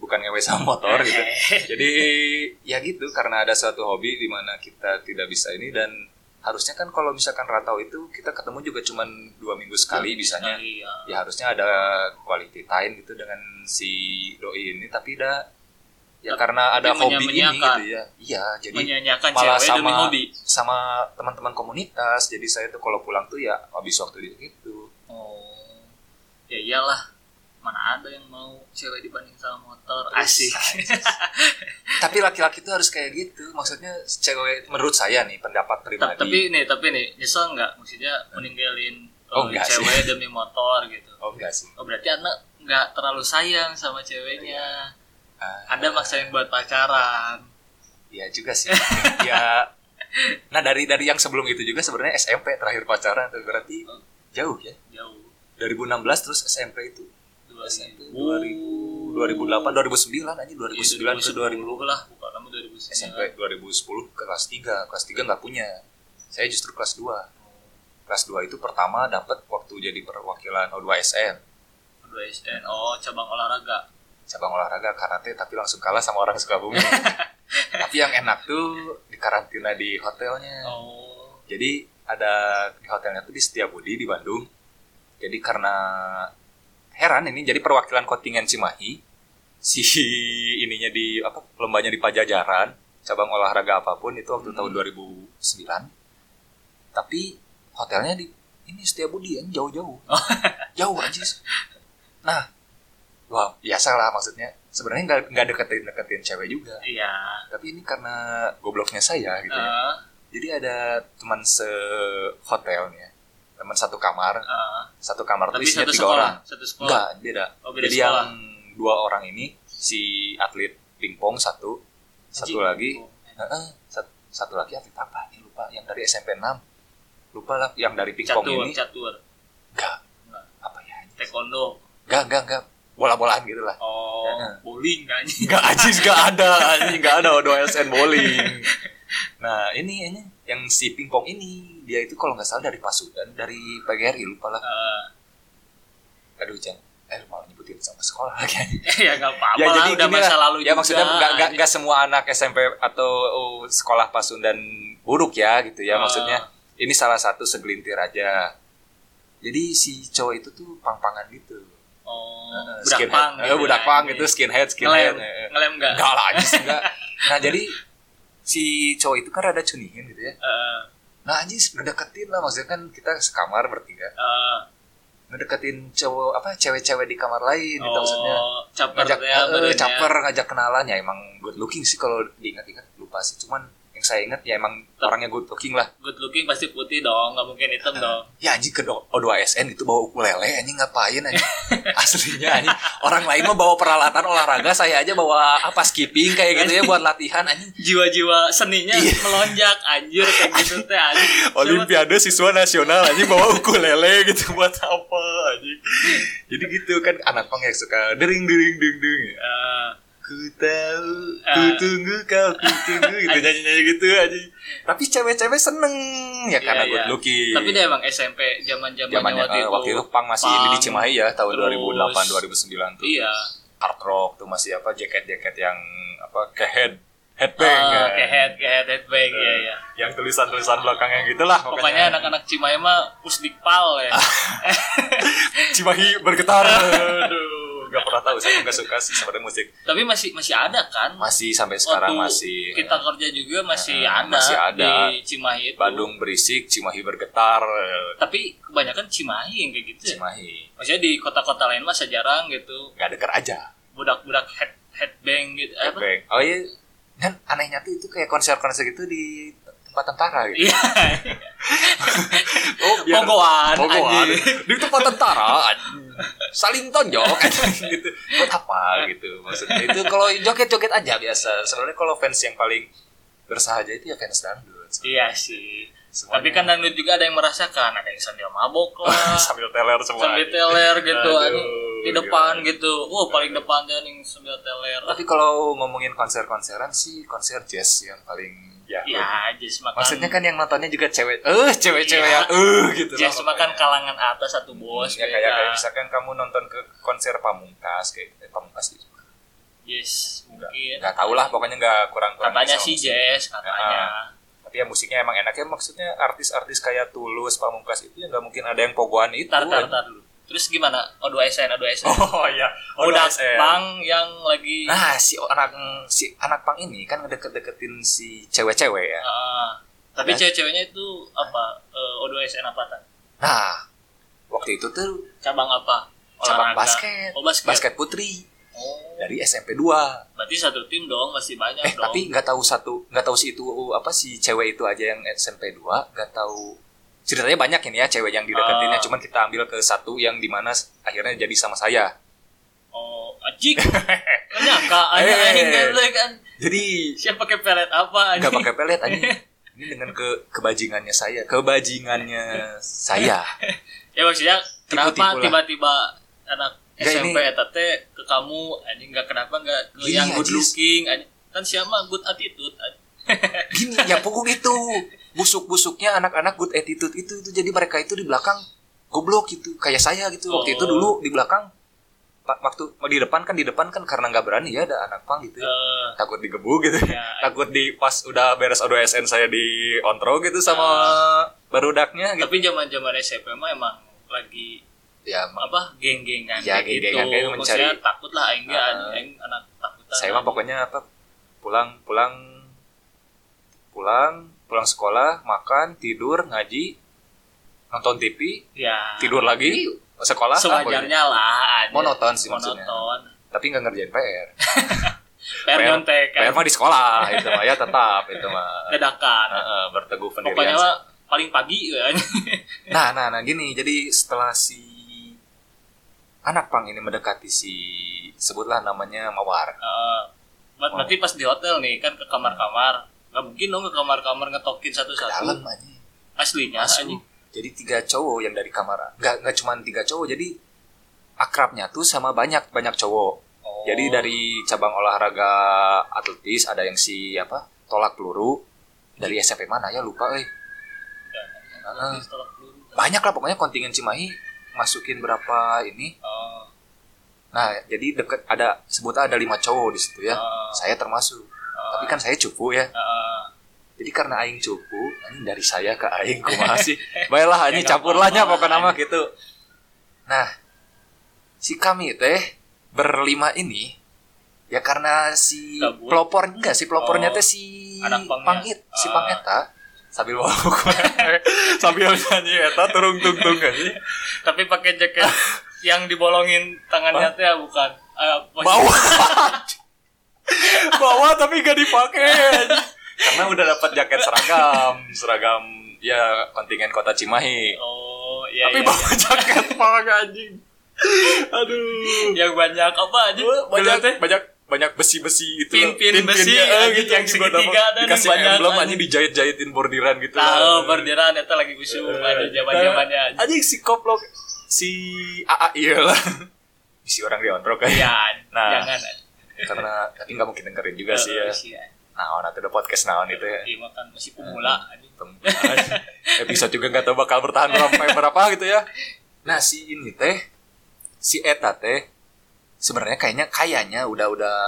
A: bukan ngewe sama motor
B: Eh.
A: gitu jadi ya gitu karena ada suatu hobi di mana kita tidak bisa ini dan harusnya kan kalau misalkan ratau itu kita ketemu juga cuma dua minggu sekali bisanya
B: Iya.
A: ya harusnya ada quality time gitu dengan si doi ini tapi dah ya
B: Tapi
A: karena ada hobi ini
B: menyia-menyiakan.
A: gitu ya iya jadi
B: menyanyiakan
A: malah
B: cewek demi
A: sama-
B: hobi
A: sama teman-teman komunitas jadi saya tuh kalau pulang tuh ya habis waktu itu gitu
B: oh ya iyalah mana ada yang mau cewek dibanding sama motor asik
A: Nah, tapi laki-laki tuh harus kayak gitu maksudnya cewek menurut saya nih pendapat
B: Ta-
A: pribadi
B: tapi nih tapi nih nyesel nggak maksudnya meninggalin
A: Oh,
B: eh,
A: nggak sih.
B: cewek demi motor gitu
A: oh enggak sih
B: oh berarti anak nggak terlalu sayang sama ceweknya
A: Ah,
B: ada maksain buat pacaran
A: iya juga sih ya nah dari dari yang sebelum itu juga sebenarnya SMP terakhir pacaran tuh berarti jauh ya
B: jauh
A: 2016 terus SMP itu
B: dua
A: SMP 2000 2008 2009 anjing 2009 ke 2000
B: Iya, lah bukan lama 2009
A: SMP 2010 ke kelas 3 kelas 3 nggak punya saya justru kelas 2 kelas 2 itu pertama dapat waktu jadi perwakilan O2SN
B: dua SN oh cabang olahraga
A: cabang olahraga karate tapi langsung kalah sama orang Sukabumi tapi yang enak tuh di karantina di hotelnya
B: oh
A: jadi ada di hotelnya tuh di Setiabudi di Bandung jadi karena heran ini jadi perwakilan kontingen Cimahi si ininya di apa lombanya di Pajajaran cabang olahraga apapun itu waktu tahun 2009 tapi hotelnya di ini Setiabudi yang jauh-jauh jauh aja nah wah biasa lah maksudnya sebenarnya nggak nggak deketin deketin cewek juga
B: iya
A: tapi ini karena gobloknya saya gitu ya
B: Eh,
A: jadi ada teman se hotelnya teman satu kamar
B: eh,
A: satu kamar tuh
B: tapi
A: isinya
B: satu
A: tiga
B: sekolah
A: orang
B: satu sekolah
A: enggak beda
B: oh beda
A: jadi
B: sekolah
A: yang dua orang ini si atlet pingpong satu satu
B: Anjing.
A: lagi
B: Oh,
A: Heeh, sat- satu lagi atlet apa ini lupa yang dari SMP 6 lupa lah yang dari pingpong
B: catur
A: ini
B: catur
A: enggak
B: Enggak.
A: apa ya
B: taekwondo
A: enggak enggak enggak bola-bolaan gitu lah
B: oh
A: Heeh.
B: bowling kan
A: Enggak anjing enggak ada anjing enggak ada Odo SN bowling. Nah, ini ini yang si pingpong ini dia itu kalau nggak salah dari Pasudan, dari PGRI lupa lah.
B: Eh,
A: Aduh, Jang. Eh, malah nyebutin sama sekolah lagi.
B: ya nggak apa-apa
A: ya
B: lah,
A: jadi
B: udah
A: gini
B: masa
A: lah.
B: lalu
A: ya
B: juga.
A: maksudnya nggak nggak nggak semua anak SMP atau oh, sekolah Pasundan buruk ya gitu ya
B: Ah.
A: maksudnya. Ini salah satu segelintir aja. Jadi si cowok itu tuh pang-pangan gitu.
B: oh
A: Eh,
B: budak
A: skinhead.
B: pang
A: Eh, budak
B: ya,
A: pang
B: ini.
A: gitu, skinhead,
B: ngelem
A: skinhead. eh, eh.
B: ngelem nggak
A: Enggak lah, anjing sih, enggak. Nah, jadi si cowok itu kan rada cunihin gitu ya.
B: Eh,
A: Nah, anjing ngedeketin lah maksudnya kan kita sekamar bertiga.
B: eh,
A: Ngedeketin cowok apa cewek-cewek di kamar lain gitu maksudnya.
B: oh caper
A: Ngajak
B: ya
A: eh,
B: badannya.
A: caper ngajak kenalan ya emang good looking sih kalau diingat-ingat lupa sih cuman yang saya ingat ya emang orangnya good looking lah.
B: good looking pasti putih dong nggak mungkin hitam dong
A: Ya anjing ke do- O2SN itu bawa ukulele anjing ngapain anjing. Aslinya anjing orang lain mah bawa peralatan olahraga saya aja bawa apa skipping kayak gitu ya buat latihan anjing.
B: jiwa-jiwa seninya
A: Iya.
B: melonjak anjir kayak gitu teh anjir
A: Olimpiade siswa nasional aja bawa ukulele gitu buat apa aja. Jadi gitu kan anak pang yang suka dering dering dering dering.
B: Siapa- Eh,
A: Ku tahu, ku
B: Ah.
A: tunggu kau, ku tunggu gitu nyanyi nyanyi gitu aja. Tapi cewek-cewek seneng ya karena
B: Iya,
A: good
B: iya.
A: looking.
B: tapi dia emang SMP zaman
A: Zamannya,
B: zamannya waktu
A: eh,
B: itu,
A: waktu itu pang masih ini di
B: punk.
A: Cimahi ya tahun 2008
B: Terus-
A: 2009 tuh
B: iya
A: hard rock tuh masih apa jaket-jaket yang apa ke head headbang
B: Ah,
A: ya.
B: kayak head kayak head headbang ya ya
A: yang tulisan-tulisan belakangnya gitu gitulah
B: pokoknya anak-anak Cimahi mah pusdikpal ya
A: Cimahi bergetar. Aduh, nggak pernah tahu. Saya nggak suka sih sebenarnya musik.
B: tapi masih masih ada kan
A: Masih sampai sekarang
B: Waktu
A: masih. ya.
B: kita kerja juga masih
A: Eh,
B: ada
A: masih ada.
B: di Cimahi
A: eh,
B: itu
A: Bandung berisik, Cimahi bergetar. eh,
B: tapi kebanyakan Cimahi yang kayak gitu ya
A: Cimahi
B: maksudnya di kota-kota lain mah jarang gitu
A: nggak deker aja.
B: budak-budak head headbang gitu apa
A: Bang. Oh iya. Dan anehnya tuh itu kayak konser-konser gitu di tempat tentara gitu.
B: Iya.
A: Oh,
B: Pogoan,
A: Pogoan.
B: anjing.
A: Di tempat tentara anjing. saling tonjok anjing, gitu. Buat apa gitu maksudnya. Itu kalau joget-joget aja biasa. Sebenarnya kalau fans yang paling bersahaja itu ya fans dangdut.
B: Iya sih.
A: Semuanya.
B: Tapi kan dangdut juga ada yang merasakan, ada yang sambil mabok lah,
A: sambil teler semua.
B: Iya. sambil teler gitu,
A: Aduh,
B: anjing. di
A: gimana?
B: depan gitu. Oh, paling depan kan yang sambil teler.
A: Tapi kalau ngomongin konser-konseran sih konser jazz yang paling
C: Ya.
B: ya jazz makan
A: Maksudnya kan yang nontonnya juga cewek. Eh, cewek-cewek yang eh gitu lah
B: Iya. jazz kan makan
A: pokoknya.
B: kalangan atas satu bos
A: ya, kayak, kayak misalkan kamu nonton ke konser Pamungkas kayak eh, Pamungkas gitu.
B: jazz mungkin
A: Nggak tahu lah pokoknya nggak kurang-kurang bisa
B: katanya Iya. sih
A: musik.
B: jazz katanya
A: Tapi ya musiknya emang enak ya maksudnya artis-artis kayak Tulus, Pamungkas itu ya nggak mungkin ada yang pogoan itu. kan.
B: tar tar tar dulu terus gimana O2SN O2SN
A: Oh iya,
B: udah
A: OSN.
B: bang yang lagi
A: Nah, si anak si anak pang ini kan ngedeket-deketin si cewek-cewek ya.
B: Ah, tapi
A: Ya.
B: cewek-ceweknya itu apa Eh, O2SN apa tan
A: Nah, waktu itu tuh
B: cabang apa
A: cabang
B: Olahraga.
A: basket,
B: oh basket,
A: basket putri
B: Oh,
A: dari SMP 2.
B: berarti satu tim dong masih
A: eh
B: banyak Iya dong
A: tapi nggak tahu satu nggak tahu si itu apa si cewek itu aja yang SMP 2 nggak tahu ceritanya banyak ini ya cewek yang dideketinnya
B: Ah.
A: cuman kita ambil ke satu yang dimana s- akhirnya jadi sama saya
B: oh anjing nyangka anjing
A: Eh.
B: anjing kan lu kan
A: jadi
B: siapa pakai pelet apa
A: nggak
B: anjing
A: pakai pelet anjing ini dengan ke kebajingannya saya kebajingannya saya
B: ya maksudnya kenapa
A: Tipu-tipu lah.
B: tiba-tiba anak
A: Nggak,
B: SMP
A: ini-
B: eta teh ke kamu anjing nggak kenapa nggak
A: Gini,
B: ke yang good
A: anjing.
B: looking anjing kan siapa good attitude anjing.
A: gini ya pokok itu busuk-busuknya anak-anak good attitude itu itu jadi mereka itu di belakang goblok gitu kayak saya gitu waktu itu
B: Oh.
A: dulu di belakang pa- waktu di depan kan di depan kan karena nggak berani ya ada anak pang gitu
B: Eh,
A: takut digebuk gitu
B: Ya.
A: takut di pas udah beres ODSN saya di ontro gitu sama barudaknya gitu
B: tapi zaman zaman SMP mah emang lagi
A: ya ma-
B: apa geng-gengan
A: Ya,
B: kayak gitu.
A: geng-gengan kayak mencari-
B: maksudnya takut lah aing nggak,
A: Ah.
B: aing anak takutan
A: saya mah pokoknya apa pulang pulang pulang pulang sekolah makan tidur ngaji nonton TV
B: ya
A: tidur lagi sekolah
B: sewajarnya lah anjing.
A: ya? Monoton sih maksudnya.
B: monoton
A: tapi nggak ngerjain PR
B: PR
A: PR
B: nyontek kan
A: PR mah di sekolah itu mah ya tetap itu mah
B: dadakan
A: Heeh, berteguh pendirian
B: Nah. pokoknya mah paling pagi kan
A: Nah, nah, nah gini. Jadi setelah si anak pang ini mendekati si sebutlah namanya Mawar.
B: Eh, ber- berarti pas di hotel nih kan ke kamar-kamar nggak mungkin dong ke kamar-kamar ngetokin
A: Dalam
B: satu-satu
A: aja.
B: aslinya
A: Masuk.
B: Ya, anjing
A: Jadi tiga cowok yang dari kamar. Nggak nggak cuma tiga cowok. Jadi akrabnya tuh sama banyak banyak cowok.
B: Oh.
A: Jadi dari cabang olahraga atletis ada yang si apa tolak peluru dari SMP mana ya lupa eh
B: iya,
A: Ah.
B: Dan- setelah peluru.
A: banyak lah pokoknya kontingen Cimahi masukin berapa ini
B: Eh,
A: nah jadi deket ada sebut ada lima cowok di situ ya
B: eh,
A: saya termasuk
B: eh,
A: tapi kan saya cupu ya
B: eh,
A: jadi karena aing cupu anjing dari saya ke aing kumaha sih baiklah anjing
B: Ya, gak
A: campurlahnya
B: apa-apa,
A: pokoknya mah gitu nah si kami teh berlima ini ya karena si
B: Gabut.
A: pelopor enggak si pelopornya
B: Oh,
A: teh si
B: anak pangnya.
A: pangit si
B: Ah.
A: pangeta sambil bawa sambil nyanyi eta turung tung tung anjing
B: tapi pakai jaket yang dibolongin tangannya teh bukan Eh, posisi-
A: bawa bawa tapi gak dipakai karena udah dapat jaket seragam seragam ya kontingen kota Cimahi
B: oh iya
A: tapi
B: iya,
A: bawa jaket pang anjing aduh
B: iya. yang banyak apa ya. aja
A: banyak
B: banyak teh
A: banyak banyak besi-besi itu loh.
B: Pin-pin besi,
A: Tin-pinnya, eh,
B: anjing,
A: gitu
B: yang
A: yang segitiga
B: segitiga ada nih,
A: dikasih
B: banyak,
A: emblem
B: anjing.
A: anjing dijahit-jahitin bordiran gitu
B: tahu
A: lah.
B: berdiran itu lagi busuk
A: Eh,
B: ada zaman zamannya
A: Nah, anjing si koplok si AA iyalah si orang di ontrok kayak
B: ya
A: Nah.
B: jangan
A: karena tapi nggak mungkin dengerin juga sih ya
B: Iya,
A: nah orang udah podcast naon itu ya
B: iya makan masih pemula anjing.
A: episode juga nggak tahu bakal bertahan sampai berapa gitu ya nah si ini teh si Eta teh sebenarnya kayaknya kayaknya udah udah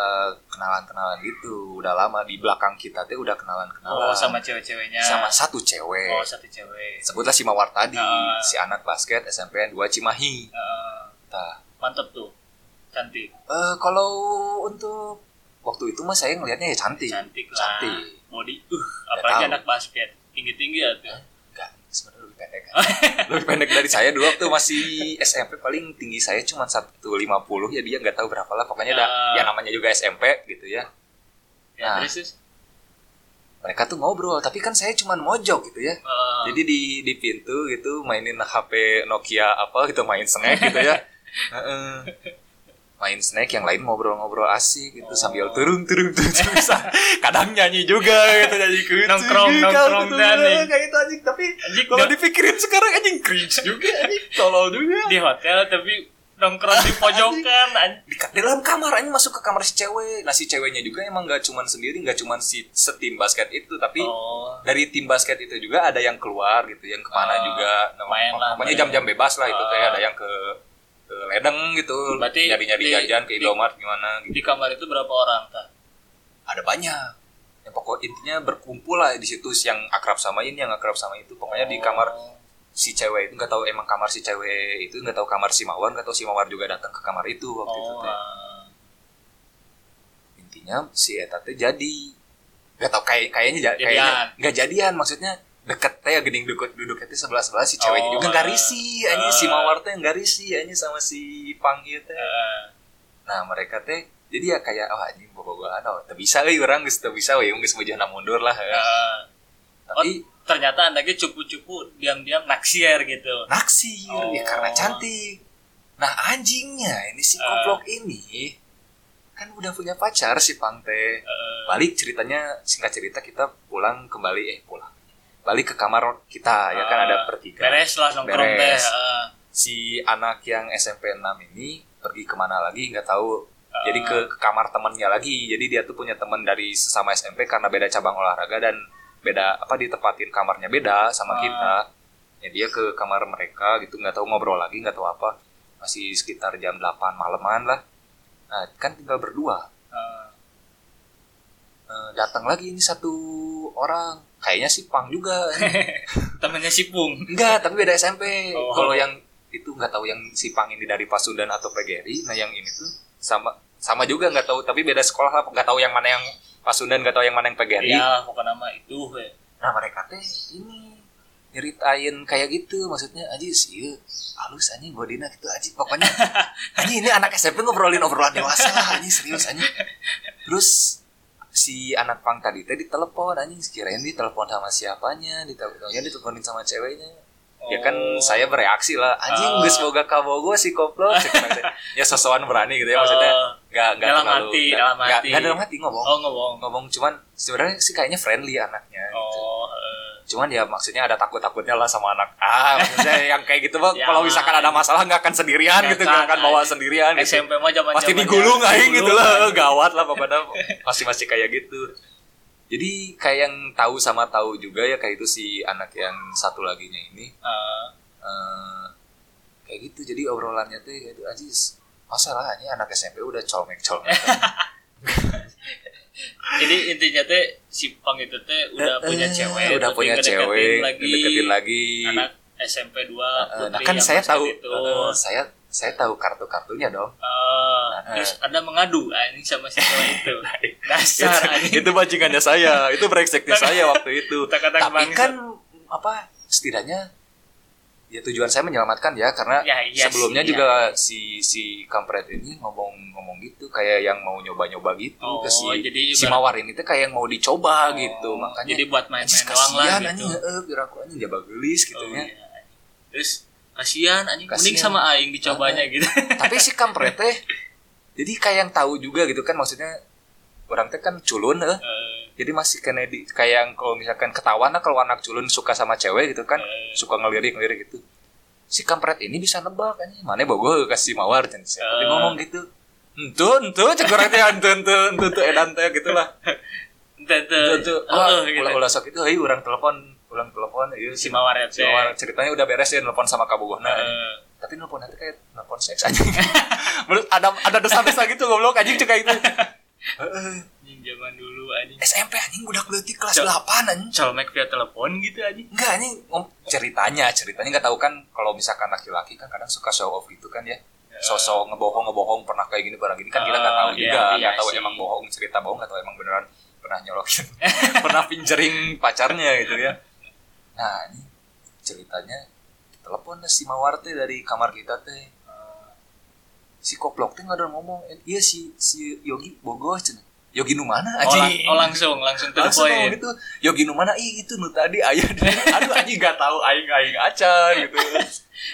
A: kenalan kenalan gitu udah lama di belakang kita teh udah kenalan kenalan
B: oh sama cewek-ceweknya
A: Nah, sama satu cewek
B: oh satu cewek
A: sebutlah si Mawar tadi
B: Ah.
A: si anak basket SMPN 2 Cimahi
B: Eh,
A: Tah.
B: mantep tuh cantik
A: Eh, kalau untuk waktu itu mah saya ngelihatnya ya cantik
B: cantik lah
A: cantik
B: body uh apalagi
A: tahu.
B: anak basket tinggi-tinggi ya tuh
A: Enggak, sebenarnya lebih pendek. lebih pendek dari saya dulu waktu masih SMP paling tinggi saya cuma 150 ya dia nggak tahu berapa lah pokoknya dah
B: Ya.
A: ya namanya juga SMP gitu ya.
B: ya
A: Nah.
B: terus terus
A: Mereka tuh ngobrol tapi kan saya cuma mojok gitu ya.
B: Eh,
A: Jadi di di pintu gitu mainin HP Nokia apa gitu main snack gitu ya. Heeh. main snack yang lain ngobrol-ngobrol asik gitu
B: Oh.
A: sambil turun turun turun bisa kadang nyanyi juga gitu nyanyi kucing
B: Nongkrong,
A: gitu,
B: nongkrong,
A: gitu,
B: nyanyi.
A: kayak itu anjing tapi
B: anjing,
A: kalau dipikirin sekarang anjing cringe juga anjing tolol juga
B: di hotel tapi nongkrong di pojokan anjing.
A: di, ka- di dalam kamar ini masuk ke kamar si cewek nah si ceweknya juga emang nggak cuman sendiri nggak cuman si setim basket itu tapi
B: Oh,
A: dari tim basket itu juga ada yang keluar gitu yang kemana
B: Ah,
A: juga Nam-
B: main lah,
A: pokoknya
B: main.
A: jam-jam bebas lah itu
B: Ah.
A: kayak ada yang ke, ke ledeng gitu
B: Berarti
A: nyari-nyari
B: di-
A: jajan ke
B: di-
A: Indomaret gimana gitu
B: di kamar itu berapa orang ta?
A: ada banyak ya pokok intinya berkumpul lah di situ yang akrab sama ini yang akrab sama itu pokoknya di kamar
B: Oh.
A: si cewek itu nggak tahu emang kamar si cewek itu nggak tahu kamar si mawar nggak tahu si mawar juga datang ke kamar itu waktu itu
B: Oh,
A: teh.
B: ah.
A: intinya si Eta teh jadi nggak tau kayak kayaknya ja-
B: Jadian.
A: kayaknya nggak jadian maksudnya deket teh gening duduk duduk teh sebelah sebelah si ceweknya
B: Oh,
A: juga nggak
B: ah.
A: risih anjing si mawar teh nggak risih anjing sama si pang ieu teh
B: Eh,
A: nah mereka teh jadi ya kayak oh anjing bawa bawaan oh teu bisa euy orang geus teu bisa we geus maju na mundur lah ya.
B: eh.
A: tapi
B: ternyata anda ge cupu-cupu diam-diam naksir gitu.
A: naksir ya
B: Oh.
A: karena cantik nah anjingnya ini si
B: Ah.
A: goblok ini kan udah punya pacar si pang teh
B: Eh,
A: balik ceritanya singkat cerita kita pulang kembali eh pulang balik ke kamar kita ya kan
B: eh,
A: ada bertiga
B: Beres lah nongkrong teh.
A: Beres.
B: eh.
A: si anak yang SMP 6 ini pergi kemana lagi nggak tahu
B: Ah. eh,
A: jadi ke, ke kamar temannya lagi jadi dia tuh punya teman dari sesama SMP karena beda cabang olahraga dan beda apa ditempatin kamarnya beda sama
B: Ah.
A: kita ya dia ke kamar mereka gitu nggak tahu ngobrol lagi nggak tahu apa masih sekitar jam 8 malaman lah nah kan tinggal berdua
B: eh.
A: Eh, datang lagi ini satu orang kayaknya si Pang juga
B: temennya si Pung.
A: enggak tapi beda SMP
B: Oh.
A: kalau yang itu nggak tahu yang si Pang ini dari Pasundan atau PGRI nah yang ini tuh sama sama juga nggak tahu tapi beda sekolah lah nggak tahu yang mana yang Pasundan nggak tahu yang mana yang PGRI
B: Iya, pokoknya nama itu. eh.
A: nah mereka teh ini nyeritain kayak gitu maksudnya aji sih ieu halus anjing bodina gitu aji pokoknya anjing ini anak SMP ngobrolin obrolan dewasa lah anjing serius anjing terus si anak pang tadi teh ditelepon anjing kirain ditelepon sama siapanya diteleponnya diteleponin sama ceweknya ya kan
B: Oh.
A: saya bereaksi lah anjing
B: Ah.
A: geus boga kabogo si koplo Cek orang teh. ya sosokan berani gitu ya maksudnya
B: Eh,
A: nggak nggak
B: dalam
A: terlalu
B: hati,
A: nggak-
B: dalam
A: nggak-
B: hati.
A: nggak dalam hati ngomong
B: oh ngomong.
A: ngomong cuman sebenarnya sih kayaknya friendly anaknya gitu
B: Oh, eh.
A: cuman ya maksudnya ada takut takutnya lah sama anak ah maksudnya yang kayak gitu mah
B: Ya,
A: kalau misalkan ada masalah nggak akan sendirian
B: Nggak
A: gitu nggak
B: akan,
A: akan bawa
B: anjing.
A: sendirian gitu.
B: SMP mah ya, zaman
A: pasti digulung aing gitu lah gawat lah pokoknya masih masih kayak gitu jadi kayak yang tahu sama tahu juga ya kayak itu si anak yang satu laginya ini eh kayak gitu jadi obrolannya tuh kayak gitu Aziz masalahnya anak SMP udah colmek colmek
B: jadi intinya teh si Pang itu teh udah punya cewek,
A: Eh, udah
B: tapi
A: punya
B: ngedeketin
A: cewek
B: lagi,
A: deketin lagi
B: anak SMP
A: Eh,
B: 2 putri
A: nah kan
B: yang gitu.
A: saya
B: basket
A: tahu
B: itu.
A: eh, saya saya tahu kartu kartunya dong
B: Eh,
A: Nah,
B: terus anda mengadu anjing sama si cewek itu dasar
A: itu,
B: anjing
A: itu bajingannya saya itu brengseknya saya waktu itu
B: Kata-kata
A: tapi
B: bangsa.
A: kan apa setidaknya ya tujuan saya menyelamatkan ya karena
B: Ya, iya
A: sebelumnya
B: sih,
A: juga si si kampret ini ngomong-ngomong gitu kayak yang mau nyoba-nyoba gitu
B: Oh,
A: ke si
B: jadi
A: si
B: ibarat-
A: mawar ini tuh kayak yang mau dicoba
B: Oh,
A: gitu makanya
B: jadi buat main-main
A: "Anjis,
B: doang lah
A: kasihan
B: gitu
A: anjing heeh biar aku anjing jaba geulis gitu
B: Oh,
A: ya
B: iya, anjing. terus kasihan anjing mending
A: Kasihan. Nah,
B: sama aing dicobanya gitu
A: tapi si kampret teh jadi kayak yang tahu juga gitu kan maksudnya orang teh kan culun eh
B: Eh,
A: jadi masih kena di kayak yang kalau misalkan ketahuan lah kalau anak culun suka sama cewek gitu kan
B: Hmm.
A: suka ngelirik ngelirik gitu si kampret ini bisa nebak kan mana bogo kasih mawar dan si
B: Hmm.
A: tapi ngomong gitu entu entu cek orang teh entu entu entu entu edan teh gitu lah
B: ente
A: entu
B: tuh
A: entu
B: oh,
A: ah
B: gitu.
A: ulah ulah sok itu hei orang telepon ulang telepon iya si
B: si
A: mawar
B: mawar ya
A: si mawar ceritanya udah beres ya telepon sama kabogohna
B: Eh,
A: tapi nelpon nanti kayak nelpon seks aja belum ada ada desa-desa gitu goblok anjing cek kayak itu Heeh.
B: anjing zaman dulu anjing
A: SMP anjing udah keleutik kelas
B: Cok.
A: 8 anjing
B: colmek via telepon gitu anjing
A: Enggak, ini ngom- ceritanya, ceritanya nggak tahu kan kalau misalkan laki-laki kan kadang suka show off gitu kan ya. Sosok ngebohong ngebohong pernah kayak gini barang gini kan kita nggak tahu
B: Ah, iya,
A: juga,
B: iya
A: nggak tahu
B: sih.
A: emang bohong cerita bohong nggak tahu emang beneran pernah nyolokin, pernah pinjering pacarnya gitu ya. Nah ini ceritanya telepon si Mawar teh dari kamar kita teh si koplok teh nggak ada ngomong Eh, iya si si Yogi bogoh cenah Yogi nu mana aja
B: Olang- oh, langsung langsung to the
A: langsung ngomong
B: point
A: gitu Yogi Numana ih itu nu tadi ayah di- aduh anjing gak tahu aing aing acan gitu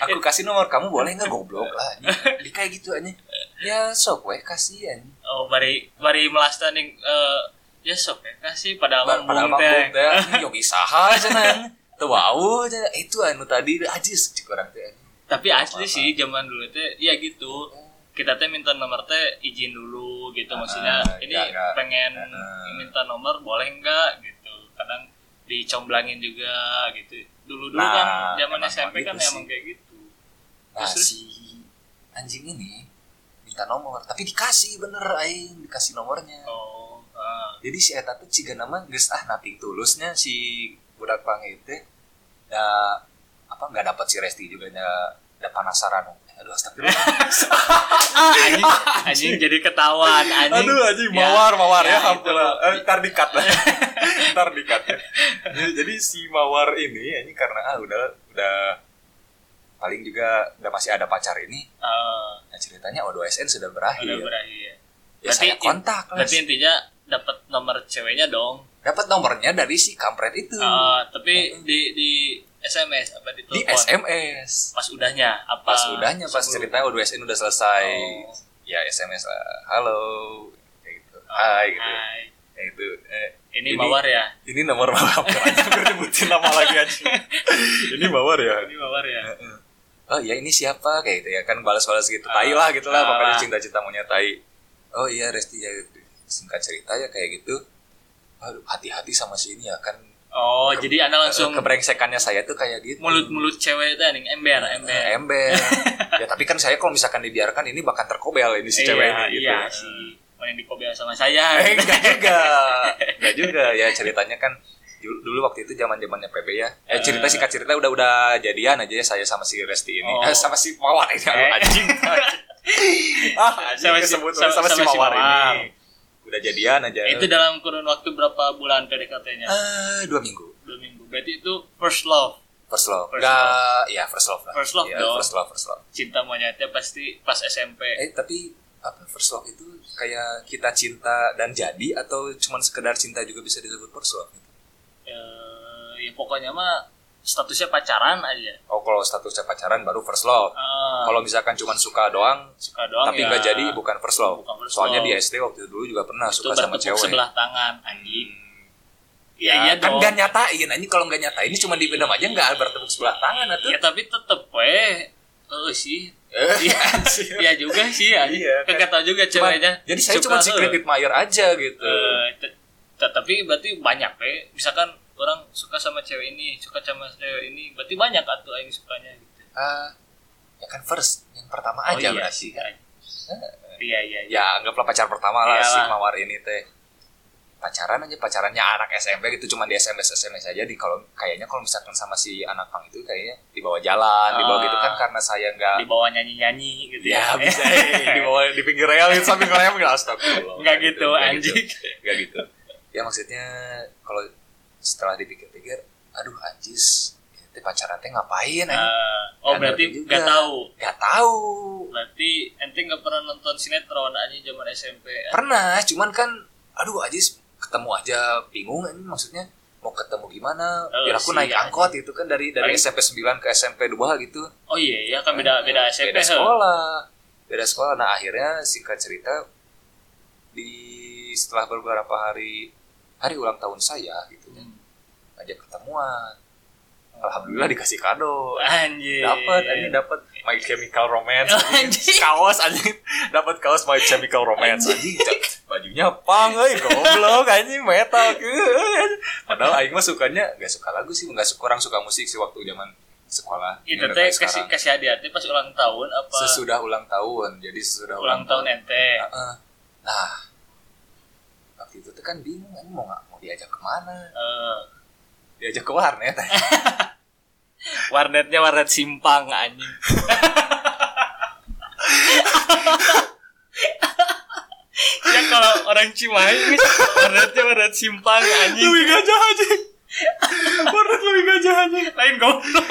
A: aku kasih nomor kamu boleh nggak goblok lah anjing. di kayak gitu anjing ya sok weh kasihan
B: oh bari bari melasta nih eh, ya sok ya kasih pada
A: padahal
B: abang
A: padahal
B: Bung teh.
A: mambung teh ah, anjing, Yogi saha cenah teu wau cenah. itu anu tadi ajis cik orang teh anjing.
B: tapi asli sih zaman dulu teh ya gitu kita teh minta nomor teh izin dulu gitu maksudnya
A: Ah,
B: ini
A: iya, iya.
B: pengen
A: Ah.
B: minta nomor boleh nggak gitu kadang dicomblangin juga gitu dulu dulu
A: Nah,
B: kan zaman
A: emang
B: SMP kan
A: gitu
B: emang
A: sih.
B: kayak gitu
A: Nah,
B: Terus, terus?
A: si anjing ini minta nomor, tapi dikasih bener aing, dikasih nomornya.
B: oh ah.
A: Jadi si eta teh ciga nama geus ah nating tulusnya si budak pange teh da apa nggak dapat si Resti juga da, da penasaran. Aduh astagfirullah.
B: anjing, anjing jadi ketahuan anjing
C: Aduh anjing
B: Ya,
C: mawar mawar ya,
B: ya,
C: hampir
B: itu.
C: lah. Eh, ntar dikat lah. ntar dikat ya. Jadi, jadi si mawar ini anjing karena ah udah udah
A: Paling juga udah masih ada pacar ini.
B: Ah,
A: Nah, ceritanya O2SN sudah
B: udah
A: berakhir.
B: berakhir
A: Ya saya kontak.
B: tapi intinya dapat nomor ceweknya dong
A: Dapat nomornya dari si kampret itu.
B: Ah, tapi di di SMS apa di
A: di
B: telepon
A: SMS.
B: pas udahnya apa
A: Pas udahnya pas
B: Ah, sebelum?
A: ceritanya O2SN udah selesai.
B: Oh.
A: Ya SMS lah. Halo. Kayak gitu. Hai gitu.
B: Hai.
A: Kayak gitu. Eh,
B: ini,
A: Ini-
B: mawar ya
A: ini nomor malam.
C: gue nyebutin nama lagi anjing. ini mawar ya.
B: ini mawar ya
A: oh iya ini siapa kayak gitu ya kan balas-balas gitu
B: Ah,
A: tai lah gitu lah
B: ah,
A: pokoknya
B: lah.
A: cinta-cinta maunya tai oh iya Resti ya singkat cerita ya kayak gitu Aduh, hati-hati sama si ini ya kan
B: oh jadi anda
A: eh,
B: langsung
A: kebrengsekannya saya tuh kayak gitu
B: mulut mulut cewek itu anjing ember ember
A: Eh, ember ya tapi kan saya kalau misalkan dibiarkan ini bakal terkobel ini si cewek ini gitu
B: iya sih main dikobel sama saya
A: eh enggak juga enggak juga ya ceritanya kan dulu, dulu waktu itu zaman zamannya PB ya eh, cerita singkat cerita udah udah jadian aja ya saya sama si Resti ini
B: Oh.
A: Eh, sama si Mawar ini aduh,
B: Eh.
A: anjing ah anjing
B: Sama si-
A: kesebut sama,
B: sama-
A: sama, si
B: sama si
A: Mawar
B: Mawar.
A: ini udah jadian aja
B: itu dalam kurun waktu berapa bulan PDKT-nya
A: Eh, dua minggu
B: dua minggu berarti itu first love
A: first love
B: First
A: enggak ya first love lah
B: First love
A: ya,
B: dong.
A: first love first love
B: cinta monyetnya pasti pas SMP
A: eh tapi apa first love itu kayak kita cinta dan jadi atau cuman sekedar cinta juga bisa disebut first love gitu?
B: eh ya pokoknya mah statusnya pacaran aja.
A: oh kalau statusnya pacaran baru first love
B: Ah,
A: kalau misalkan cuman suka doang
B: suka doang
A: tapi
B: ya,
A: nggak jadi bukan first love
B: Bukan first
A: soalnya
B: love.
A: di SD waktu itu dulu juga pernah
B: itu
A: suka sama
B: bertepuk
A: cewek
B: sebelah tangan anjing. Ya,
A: ya,
B: iya
A: kan
B: dong.
A: nggak nyatain ini kalau nggak nyatain ini cuma dipendam aja nggak bertepuk sebelah tangan atau
B: Ya tapi tetep weh. Eh sih. Iya iya juga sih anjing.
A: Iya, kan.
B: Kagak tahu juga ceweknya.
A: jadi saya
B: suka
A: cuma
B: tuh.
A: secret admirer aja gitu
B: Eh, te- te- tapi berarti banyak weh. Misalkan orang suka sama cewek ini, suka sama cewek ini, berarti banyak atuh aing sukanya gitu.
A: Ah, ya kan first yang pertama aja
B: iya
A: berarti
B: sih,
A: kan
B: anjing. Iya iya iya.
A: ya anggaplah pacar pertama lah si
B: Iyalah.
A: mawar ini teh pacaran aja pacarannya anak SMP gitu cuma di SMS SMS aja di kalau kayaknya kalau misalkan sama si anak pang itu kayaknya dibawa jalan dibawa
B: Ah.
A: gitu kan karena saya nggak
B: Di bawah nyanyi-nyanyi gitu
A: Ya bisa eh, di bawah di pinggir rel itu sambil ngelayang enggak astagfirullah.
B: Enggak gitu,
A: Nggak
B: anjing.
A: Enggak gitu. Ya maksudnya kalau setelah dipikir-pikir, aduh anjis, itu pacaran teh ngapain anjing?
B: Eh, oh
A: Nggak
B: berarti
A: ngerti Nah, juga.
B: nggak tahu.
A: Enggak tahu.
B: Berarti ente nggak pernah nonton sinetron aja zaman SMP.
A: Pernah, cuman kan aduh anjis ketemu aja bingung anjing maksudnya mau ketemu gimana?
B: Oh,
A: Biar aku
B: sih,
A: naik
B: anjing.
A: angkot itu kan dari dari
B: Paling-
A: SMP 9 ke SMP 2 gitu.
B: Oh iya ya kan beda beda SMP.
A: beda
B: he.
A: sekolah beda sekolah nah akhirnya singkat cerita di setelah beberapa hari hari ulang tahun saya gitu
B: Hmm.
A: ajak ketemuan alhamdulillah dikasih kado
B: Eh, Anjir.
A: dapat ini dapat Iya. My Chemical Romance
B: Anjing.
A: kaos anjing dapat kaos My Chemical Romance anjing bajunya pang euy goblok anjing metal euy. padahal aing mah sukanya gak suka lagu sih gak suka kurang suka musik sih waktu zaman sekolah
B: Itu
A: Ini
B: teh
A: kayak
B: kasih
A: sekarang.
B: kasih hadiah teh pas ulang tahun apa?
A: sesudah ulang tahun jadi sesudah
B: ulang tahun ya? ente.
A: Heeh. nah waktu itu tuh kan bingung ini mau nggak mau diajak kemana
B: Eh,
A: diajak ke warnet
B: warnetnya warnet simpang anjing. ya kalau orang Cimahi warnetnya warnet simpang anjing.
A: gajah aja warnet lebih gajah aja
B: Lain goblok.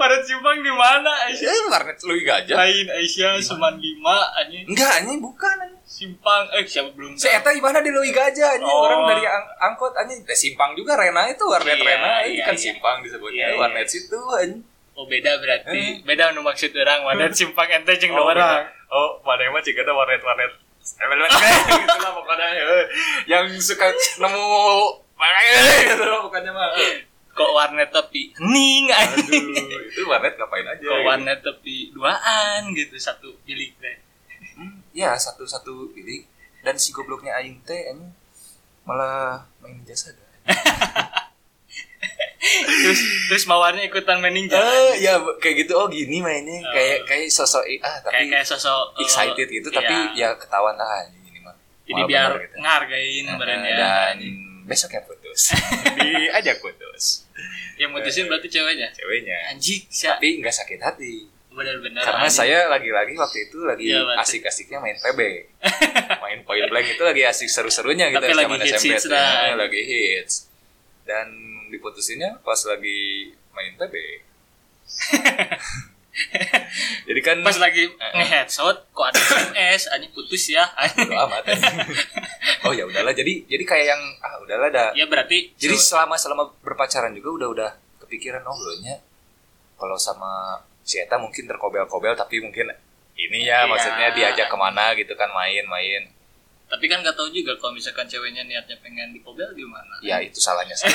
B: Warnet simpang di mana anjing?
A: eh warnet lebih gajah
B: lain Aisyah Suman lima anjing
A: enggak ini bukan anjing.
B: simpang eh siapa belum
A: si Eta gimana di lebih gajah anjing
B: Oh.
A: orang dari ang- angkot anjing Eh, simpang juga Rena itu warnet
B: Iya,
A: Rena itu
B: iya,
A: kan
B: iya.
A: simpang disebutnya
B: Iya, iya.
A: warnet situ anjing
B: oh beda berarti
A: Eh. Hmm.
B: beda nu maksud orang mana simpang ente jeung dua orang
C: Oh, mana emang jika ada warnet-warnet
A: gitu lah pokoknya eh. yang suka nemu Makanya, gitu lah pokoknya mah eh.
B: kok warnet tapi hening anjing.
A: Aduh, itu warnet ngapain aja?
B: kok
A: gitu.
B: warnet tapi duaan gitu satu bilik teh
A: Hmm, ya satu-satu pilih dan si gobloknya aing teh anjing malah main jasa dah.
B: terus terus mawarnya ikutan main ninja
A: Eh, ya bu- kayak gitu oh gini mainnya
B: Eh.
A: kayak kayak sosok ah
B: kayak
A: tapi
B: kayak sosok eh,
A: excited gitu tapi
B: iya.
A: ya ketahuan lah anjing ini mah.
B: jadi
A: Wah,
B: biar ya.
A: bener gitu.
B: ngargain
A: Nah,
B: badannya
A: dan besoknya putus. Diajak putus
B: yang mutusin berarti ceweknya
A: ceweknya.
B: anjing siapa
A: Tapi nggak sakit hati.
B: benar-benar
A: Karena
B: anjing.
A: saya lagi-lagi waktu itu lagi
B: Iya, berarti.
A: asik-asiknya main PB. main point blank itu lagi asik seru-serunya gitu
B: Tapi lagi
A: zaman
B: hits- hits,
A: tuh.
B: nah.
A: Ya, lagi hits. Dan diputusinnya pas lagi main PB. Jadi kan
B: pas lagi
A: Eh.
B: ngeheadshot kok ada SMS anjing putus ya
A: Bodo amat. oh ya udahlah jadi jadi kayak yang ah udahlah dah.
B: ya berarti
A: Jadi
B: cewek-
A: selama selama berpacaran juga udah udah kepikiran oh belumnya kalau sama si Eta mungkin terkobel-kobel tapi mungkin ini ya
B: Iya.
A: maksudnya diajak kemana gitu kan main-main.
B: tapi kan nggak tahu juga kalau misalkan ceweknya niatnya pengen dipobel gimana
A: Ya itu salahnya saya.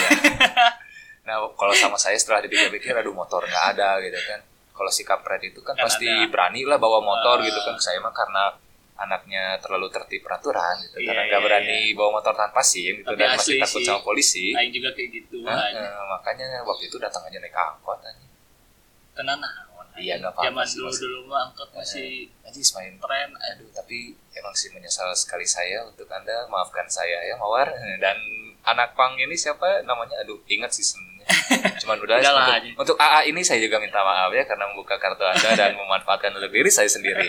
A: nah kalau sama saya setelah dipikir-pikir aduh motor nggak ada gitu kan. Kalau si kampret itu kan
B: Nggak
A: pasti
B: ada.
A: berani lah bawa motor
B: Ah.
A: gitu kan. Saya mah karena anaknya terlalu tertib peraturan gitu.
B: Iya,
A: karena
B: iya,
A: nggak berani bawa motor tanpa SIM gitu
B: Tapi
A: dan masih
B: asli
A: takut
B: sih.
A: sama polisi.
B: lain juga kayak gitu
A: Nah,
B: anjing.
A: eh, makanya waktu itu datang aja naik angkot aja.
B: tenan naon
A: Iya,
B: anjing.
A: nggak apa-apa
B: zaman
A: sih, Eh.
B: dulu
A: maksudnya.
B: dulu mah angkot masih
A: Najis main
B: tren aduh
A: Aduh, tapi emang sih menyesal sekali saya untuk Anda. Maafkan saya ya, Mawar. Dan anak pang ini siapa namanya? Aduh, ingat sih sebenarnya. Cuman udah,
B: Udah lah,
A: untuk,
B: anjing.
A: untuk AA ini saya juga minta maaf ya karena membuka kartu Anda dan memanfaatkan untuk diri saya sendiri.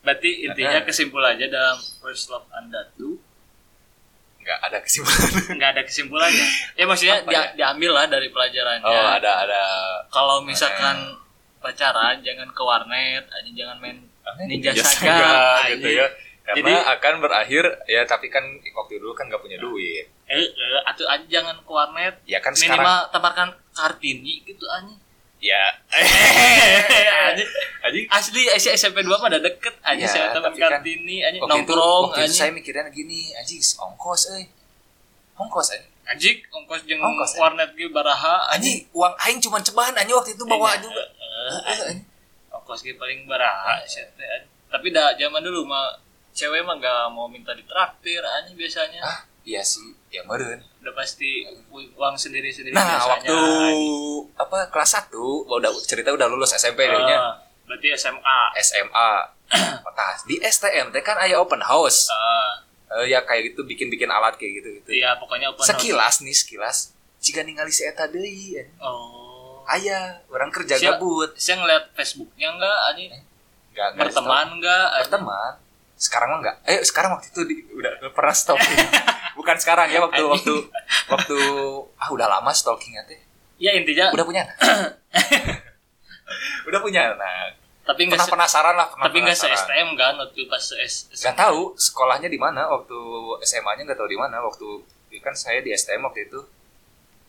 B: berarti intinya
A: Heeh.
B: kesimpulannya dalam first love anda tuh
A: Nggak ada kesimpulan.
B: nggak ada kesimpulannya ya maksudnya
A: Apa
B: dia,
A: ya?
B: diambil lah dari pelajarannya
A: Oh, ada Eh. ada
B: kalau misalkan pacaran jangan ke warnet anjing jangan main ninja saga
A: ya, gitu
B: anjing.
A: ya. Karena
B: Jadi-
A: akan berakhir ya tapi kan waktu dulu kan nggak punya duit.
B: eh, eh, atau anjing jangan ke warnet
A: Ya kan
B: minimal
A: sekarang
B: tampilkan kartini gitu anjing Eh,
A: ya
B: Anjing.
A: Anjing.
B: asli si SMP 2 mah udah deket anjing
A: Iya,
B: saya teman
A: tapi kan-
B: kartini anjing
A: Waktu itu-
B: nongkrong
A: waktu itu saya
B: anjing
A: mikirnya gini, anjing ongkos euy. Ongkos anjing.
B: anjing ongkos jeung
A: Ongkos, anjing.
B: warnet ge baraha
A: Anjing
B: anjing Iya,
A: Iya. uang aing cuma cebahan anjing waktu itu bawa juga. Eh,
B: eh, ongkos ge paling baraha sia teh, anjing. tapi dah zaman dulu mah cewek mah gak mau minta ditraktir anjing biasanya
A: Ah, iya sih, ya meren.
B: udah pasti u- uang sendiri sendiri
A: Nah, waktu apa kelas 1, udah cerita udah lulus SMP dulunya.
B: Eh, berarti SMA
A: Ah. SMA. Nah, di STM teh kan aya open house.
B: Eh,
A: Eh, ya kayak gitu bikin-bikin alat kayak gitu-gitu.
B: iya pokoknya open house.
A: Sekilas nih, sekilas jika ningali si eta deui eh.
B: oh
A: aya orang kerja
B: Siap.
A: gabut.
B: saya ngeliat Facebooknya enggak anjing
A: Nggak- nggak di stop.
B: berteman enggak anjing?
A: berteman Eh, sekarang mah enggak eh sekarang waktu itu di- udah udah pernah stalking bukan sekarang ya waktu
B: Anjing.
A: waktu waktu ah udah lama stalkingnya teh
B: ya intinya
A: udah punya anak udah punya anak
B: tapi enggak
A: pernah
B: se-
A: penasaran lah pernah
B: tapi enggak se
A: penasaran. Kan,
B: STM kan waktu pas se S
A: nggak tahu sekolahnya di mana waktu SMA nya nggak tahu di mana waktu ya kan saya di STM waktu itu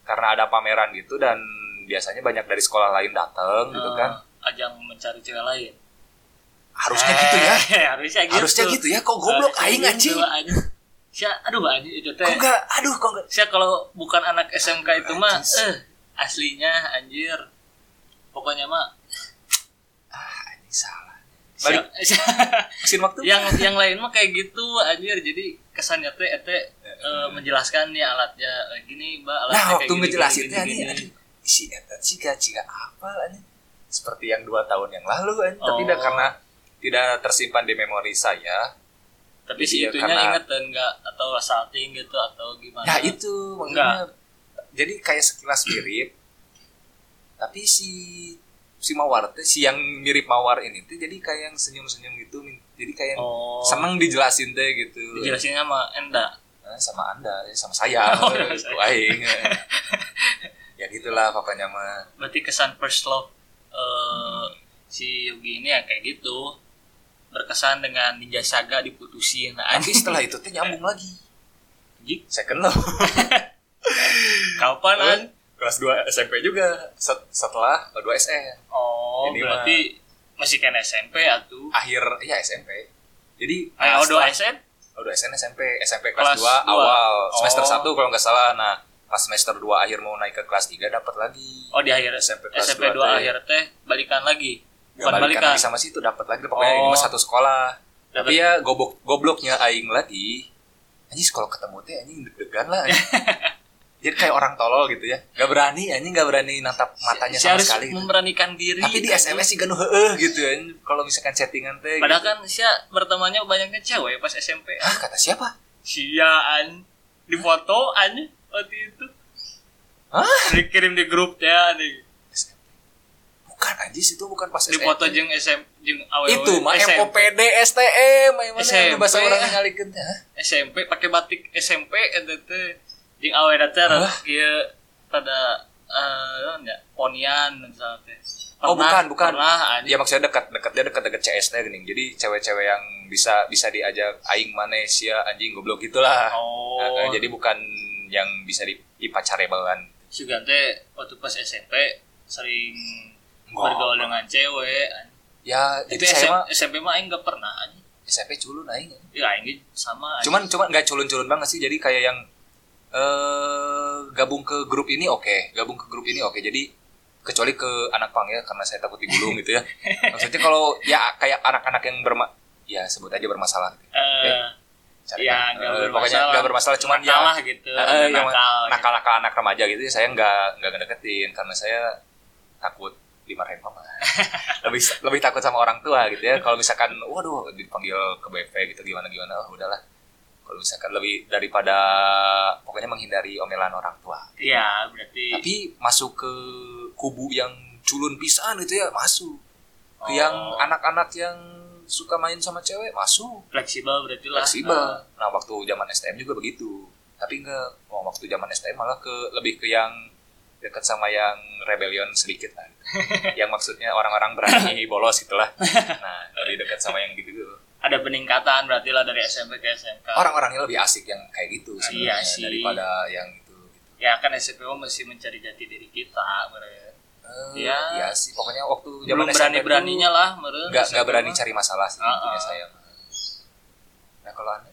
A: karena ada pameran gitu dan biasanya banyak dari sekolah lain datang gitu kan
B: Eh, ajang mencari cewek lain
A: harusnya gitu ya
B: Eh, harusnya gitu
A: harusnya gitu ya kok goblok
B: Harusnya
A: aing
B: gitu,
A: anjing
B: anjing. Sia, aduh anjing itu
A: kok
B: teh
A: enggak aduh kok enggak
B: Saya kalau bukan anak SMK itu mah
A: Anjing.
B: eh aslinya anjir. Pokoknya mah
A: ah ini salah
B: sia-
A: mesin waktu
B: yang yang lain mah kayak gitu anjir. Jadi kesannya teh ete eh, menjelaskan nih alatnya eh, gini, Mbak, alatnya
A: Hmm. Nah,
B: kayak
A: waktu
B: gini,
A: ngejelasinnya
B: gini,
A: ini
B: gini,
A: aduh,
B: gini.
A: si Eta Ciga Ciga apa ini? Seperti yang dua tahun yang lalu kan, tapi
B: Oh.
A: udah karena tidak tersimpan di memori saya.
B: Tapi si
A: Iya,
B: itunya
A: karena-
B: inget dan enggak atau salting gitu atau gimana.
A: Nah, itu makanya jadi kayak sekilas mirip. tapi si si Mawar teh si yang mirip Mawar ini tuh jadi kayak yang senyum-senyum gitu, min- jadi kayak yang
B: Oh.
A: seneng dijelasin teh gitu.
B: Dijelasinnya sama Enda.
A: Nah, sama Anda, ya, sama saya,
B: Oh, sama
A: Ku aing. ya gitulah pokoknya mah.
B: berarti kesan first love eh, si Yogi ini ya kayak gitu berkesan dengan Ninja Saga diputusin nah,
A: Tapi
B: anjing
A: setelah itu teh nyambung lagi.
B: anjing,
A: Second love.
B: kapan an
A: kelas 2 SMP juga set- setelah 2 SM
B: oh
A: Ini
B: berarti masih kan SMP atuh
A: akhir ya SMP jadi nah,
B: nah, oh dua
A: setelah-
B: SM
A: oh, dua SM SMP SMP kelas,
B: Kelas
A: 2
B: dua.
A: awal semester
B: Oh.
A: 1 kalau nggak salah nah pas semester 2 akhir mau naik ke kelas 3 dapat lagi
B: Oh di akhir
A: SMP
B: SMP,
A: kelas
B: 2
A: dua teh.
B: akhir teh balikan lagi.
A: Nggak
B: Bukan balikan.
A: lagi sama situ dapat lagi pokoknya
B: Oh.
A: ini mah satu sekolah
B: Dapat.
A: tapi ya gobok gobloknya aing lagi anjing kalau ketemu teh anjing deg-degan lah anjing. jadi kayak orang tolol gitu ya nggak berani anjing nggak berani natap matanya
B: Si
A: sama
B: harus
A: sekali gitu.
B: memberanikan diri.
A: tapi di
B: kan.
A: SMS sih ganu heeh gitu anjing kalau misalkan chattingan teh gitu.
B: Padahal kan Sia bertemannya banyaknya cewek pas SMP.
A: Hah, kata siapa
B: Siaan di foto an waktu itu.
A: Hah?
B: Dikirim di grup teh anjing.
A: SMP bukan anjing itu bukan pas
B: Di foto jeung SM jeung awewe.
A: itu mah
B: SM
A: MOPD STM yang mana
B: SMP.
A: yang bahasa orang ngalikeun teh hah?
B: SMP pakai batik SMP eta teh jeung awewe datar
A: Hah?
B: ieu pada eh ya ponian misalnya teh.
A: Oh, bukan,
B: Pernah-
A: bukan.
B: Pernah anjing.
A: Ya maksudnya dekat dekat dia dekat dekat CS nya gini. Jadi cewek-cewek yang bisa bisa diajak aing Malaysia anjing goblok gitulah.
B: Oh.
A: Eh, eh, jadi bukan yang bisa di dipacarebelan.
B: Sugan teh waktu pas SMP sering
A: Enggak.
B: bergaul dengan cewek.
A: Ya
B: Itu
A: jadi saya
B: SM
A: mah
B: SMP mah aing gak pernah anjing.
A: SMP culun aing.
B: Ya aing ge sama anjing.
A: Cuman cuman nggak culun-culun banget sih. Jadi kayak yang eh gabung ke grup ini oke, gabung ke grup ini oke. Jadi kecuali ke anak pang ya karena saya takut digulung gitu ya. Maksudnya kalau ya kayak anak-anak yang berma ya sebut aja bermasalah.
B: Eh,
A: Cari
B: ya
A: kan.
B: nggak
A: Eh,
B: bermasalah.
A: pokoknya nggak bermasalah cuman ya
B: nakal lah gitu.
A: Eh, yang
B: nakal.
A: nakal nakal anak remaja gitu saya nggak nggak ngedeketin karena saya takut dimarahin mama lebih lebih takut sama orang tua gitu ya kalau misalkan waduh dipanggil ke BP gitu gimana gimana oh, udahlah kalau misalkan lebih daripada pokoknya menghindari omelan orang tua
B: Iya, berarti
A: tapi masuk ke kubu yang culun pisan gitu ya masuk ke
B: Oh.
A: yang anak-anak yang suka main sama cewek masuk
B: fleksibel berarti lah. Eh,
A: fleksibel. Nah,
B: Nah,
A: waktu zaman STM juga begitu. Tapi enggak, Wah, waktu zaman STM malah ke lebih ke yang dekat sama yang rebellion sedikit lah. yang maksudnya orang-orang berani bolos gitulah. Nah, lebih dekat sama yang gitu dulu.
B: ada peningkatan berarti lah dari SMP ke SMK.
A: Orang-orangnya lebih asik yang kayak gitu
B: Iya
A: sebenarnya
B: sih.
A: daripada yang itu. gitu.
B: Ya kan SMP mah masih mencari jati diri kita, meren.
A: Eh,
B: Iya.
A: iya sih, pokoknya waktu zaman
B: Belum berani-beraninya lah, meren.
A: Enggak
B: SMP
A: enggak berani
B: mah.
A: cari masalah sih
B: Ah,
A: intinya
B: ah.
A: saya. Nah, kalau Anda?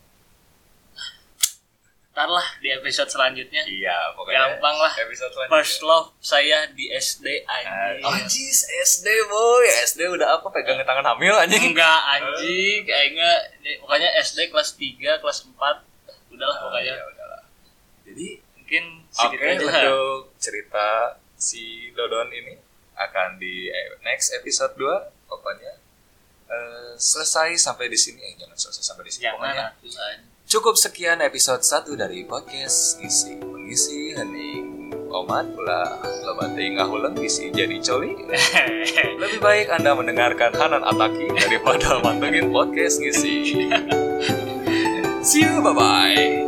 B: Ntar lah di episode selanjutnya.
A: Iya,
B: Gampang lah.
A: Episode
B: First love saya di SD anjing.
A: Anjis SD boy, SD udah apa pegang tangan hamil anjing.
B: Enggak anjing, kayaknya pokoknya SD kelas 3, kelas 4 udahlah pokoknya.
A: Ya udahlah. Jadi
B: Mungkin
A: iya. oke
B: segitu aja.
A: untuk cerita si Dodon ini akan di eh, next episode 2 pokoknya eh, selesai sampai di sini eh jangan selesai sampai di sini
B: Jangan
A: pokoknya.
B: atuh, anjing.
A: Cukup sekian episode 1 dari podcast Ngisi Mengisi Hening Omat pula Lebate ngahuleng isi jadi coli Lebih baik Anda mendengarkan Hanan Ataki daripada mantengin podcast ngisi. See you, bye-bye.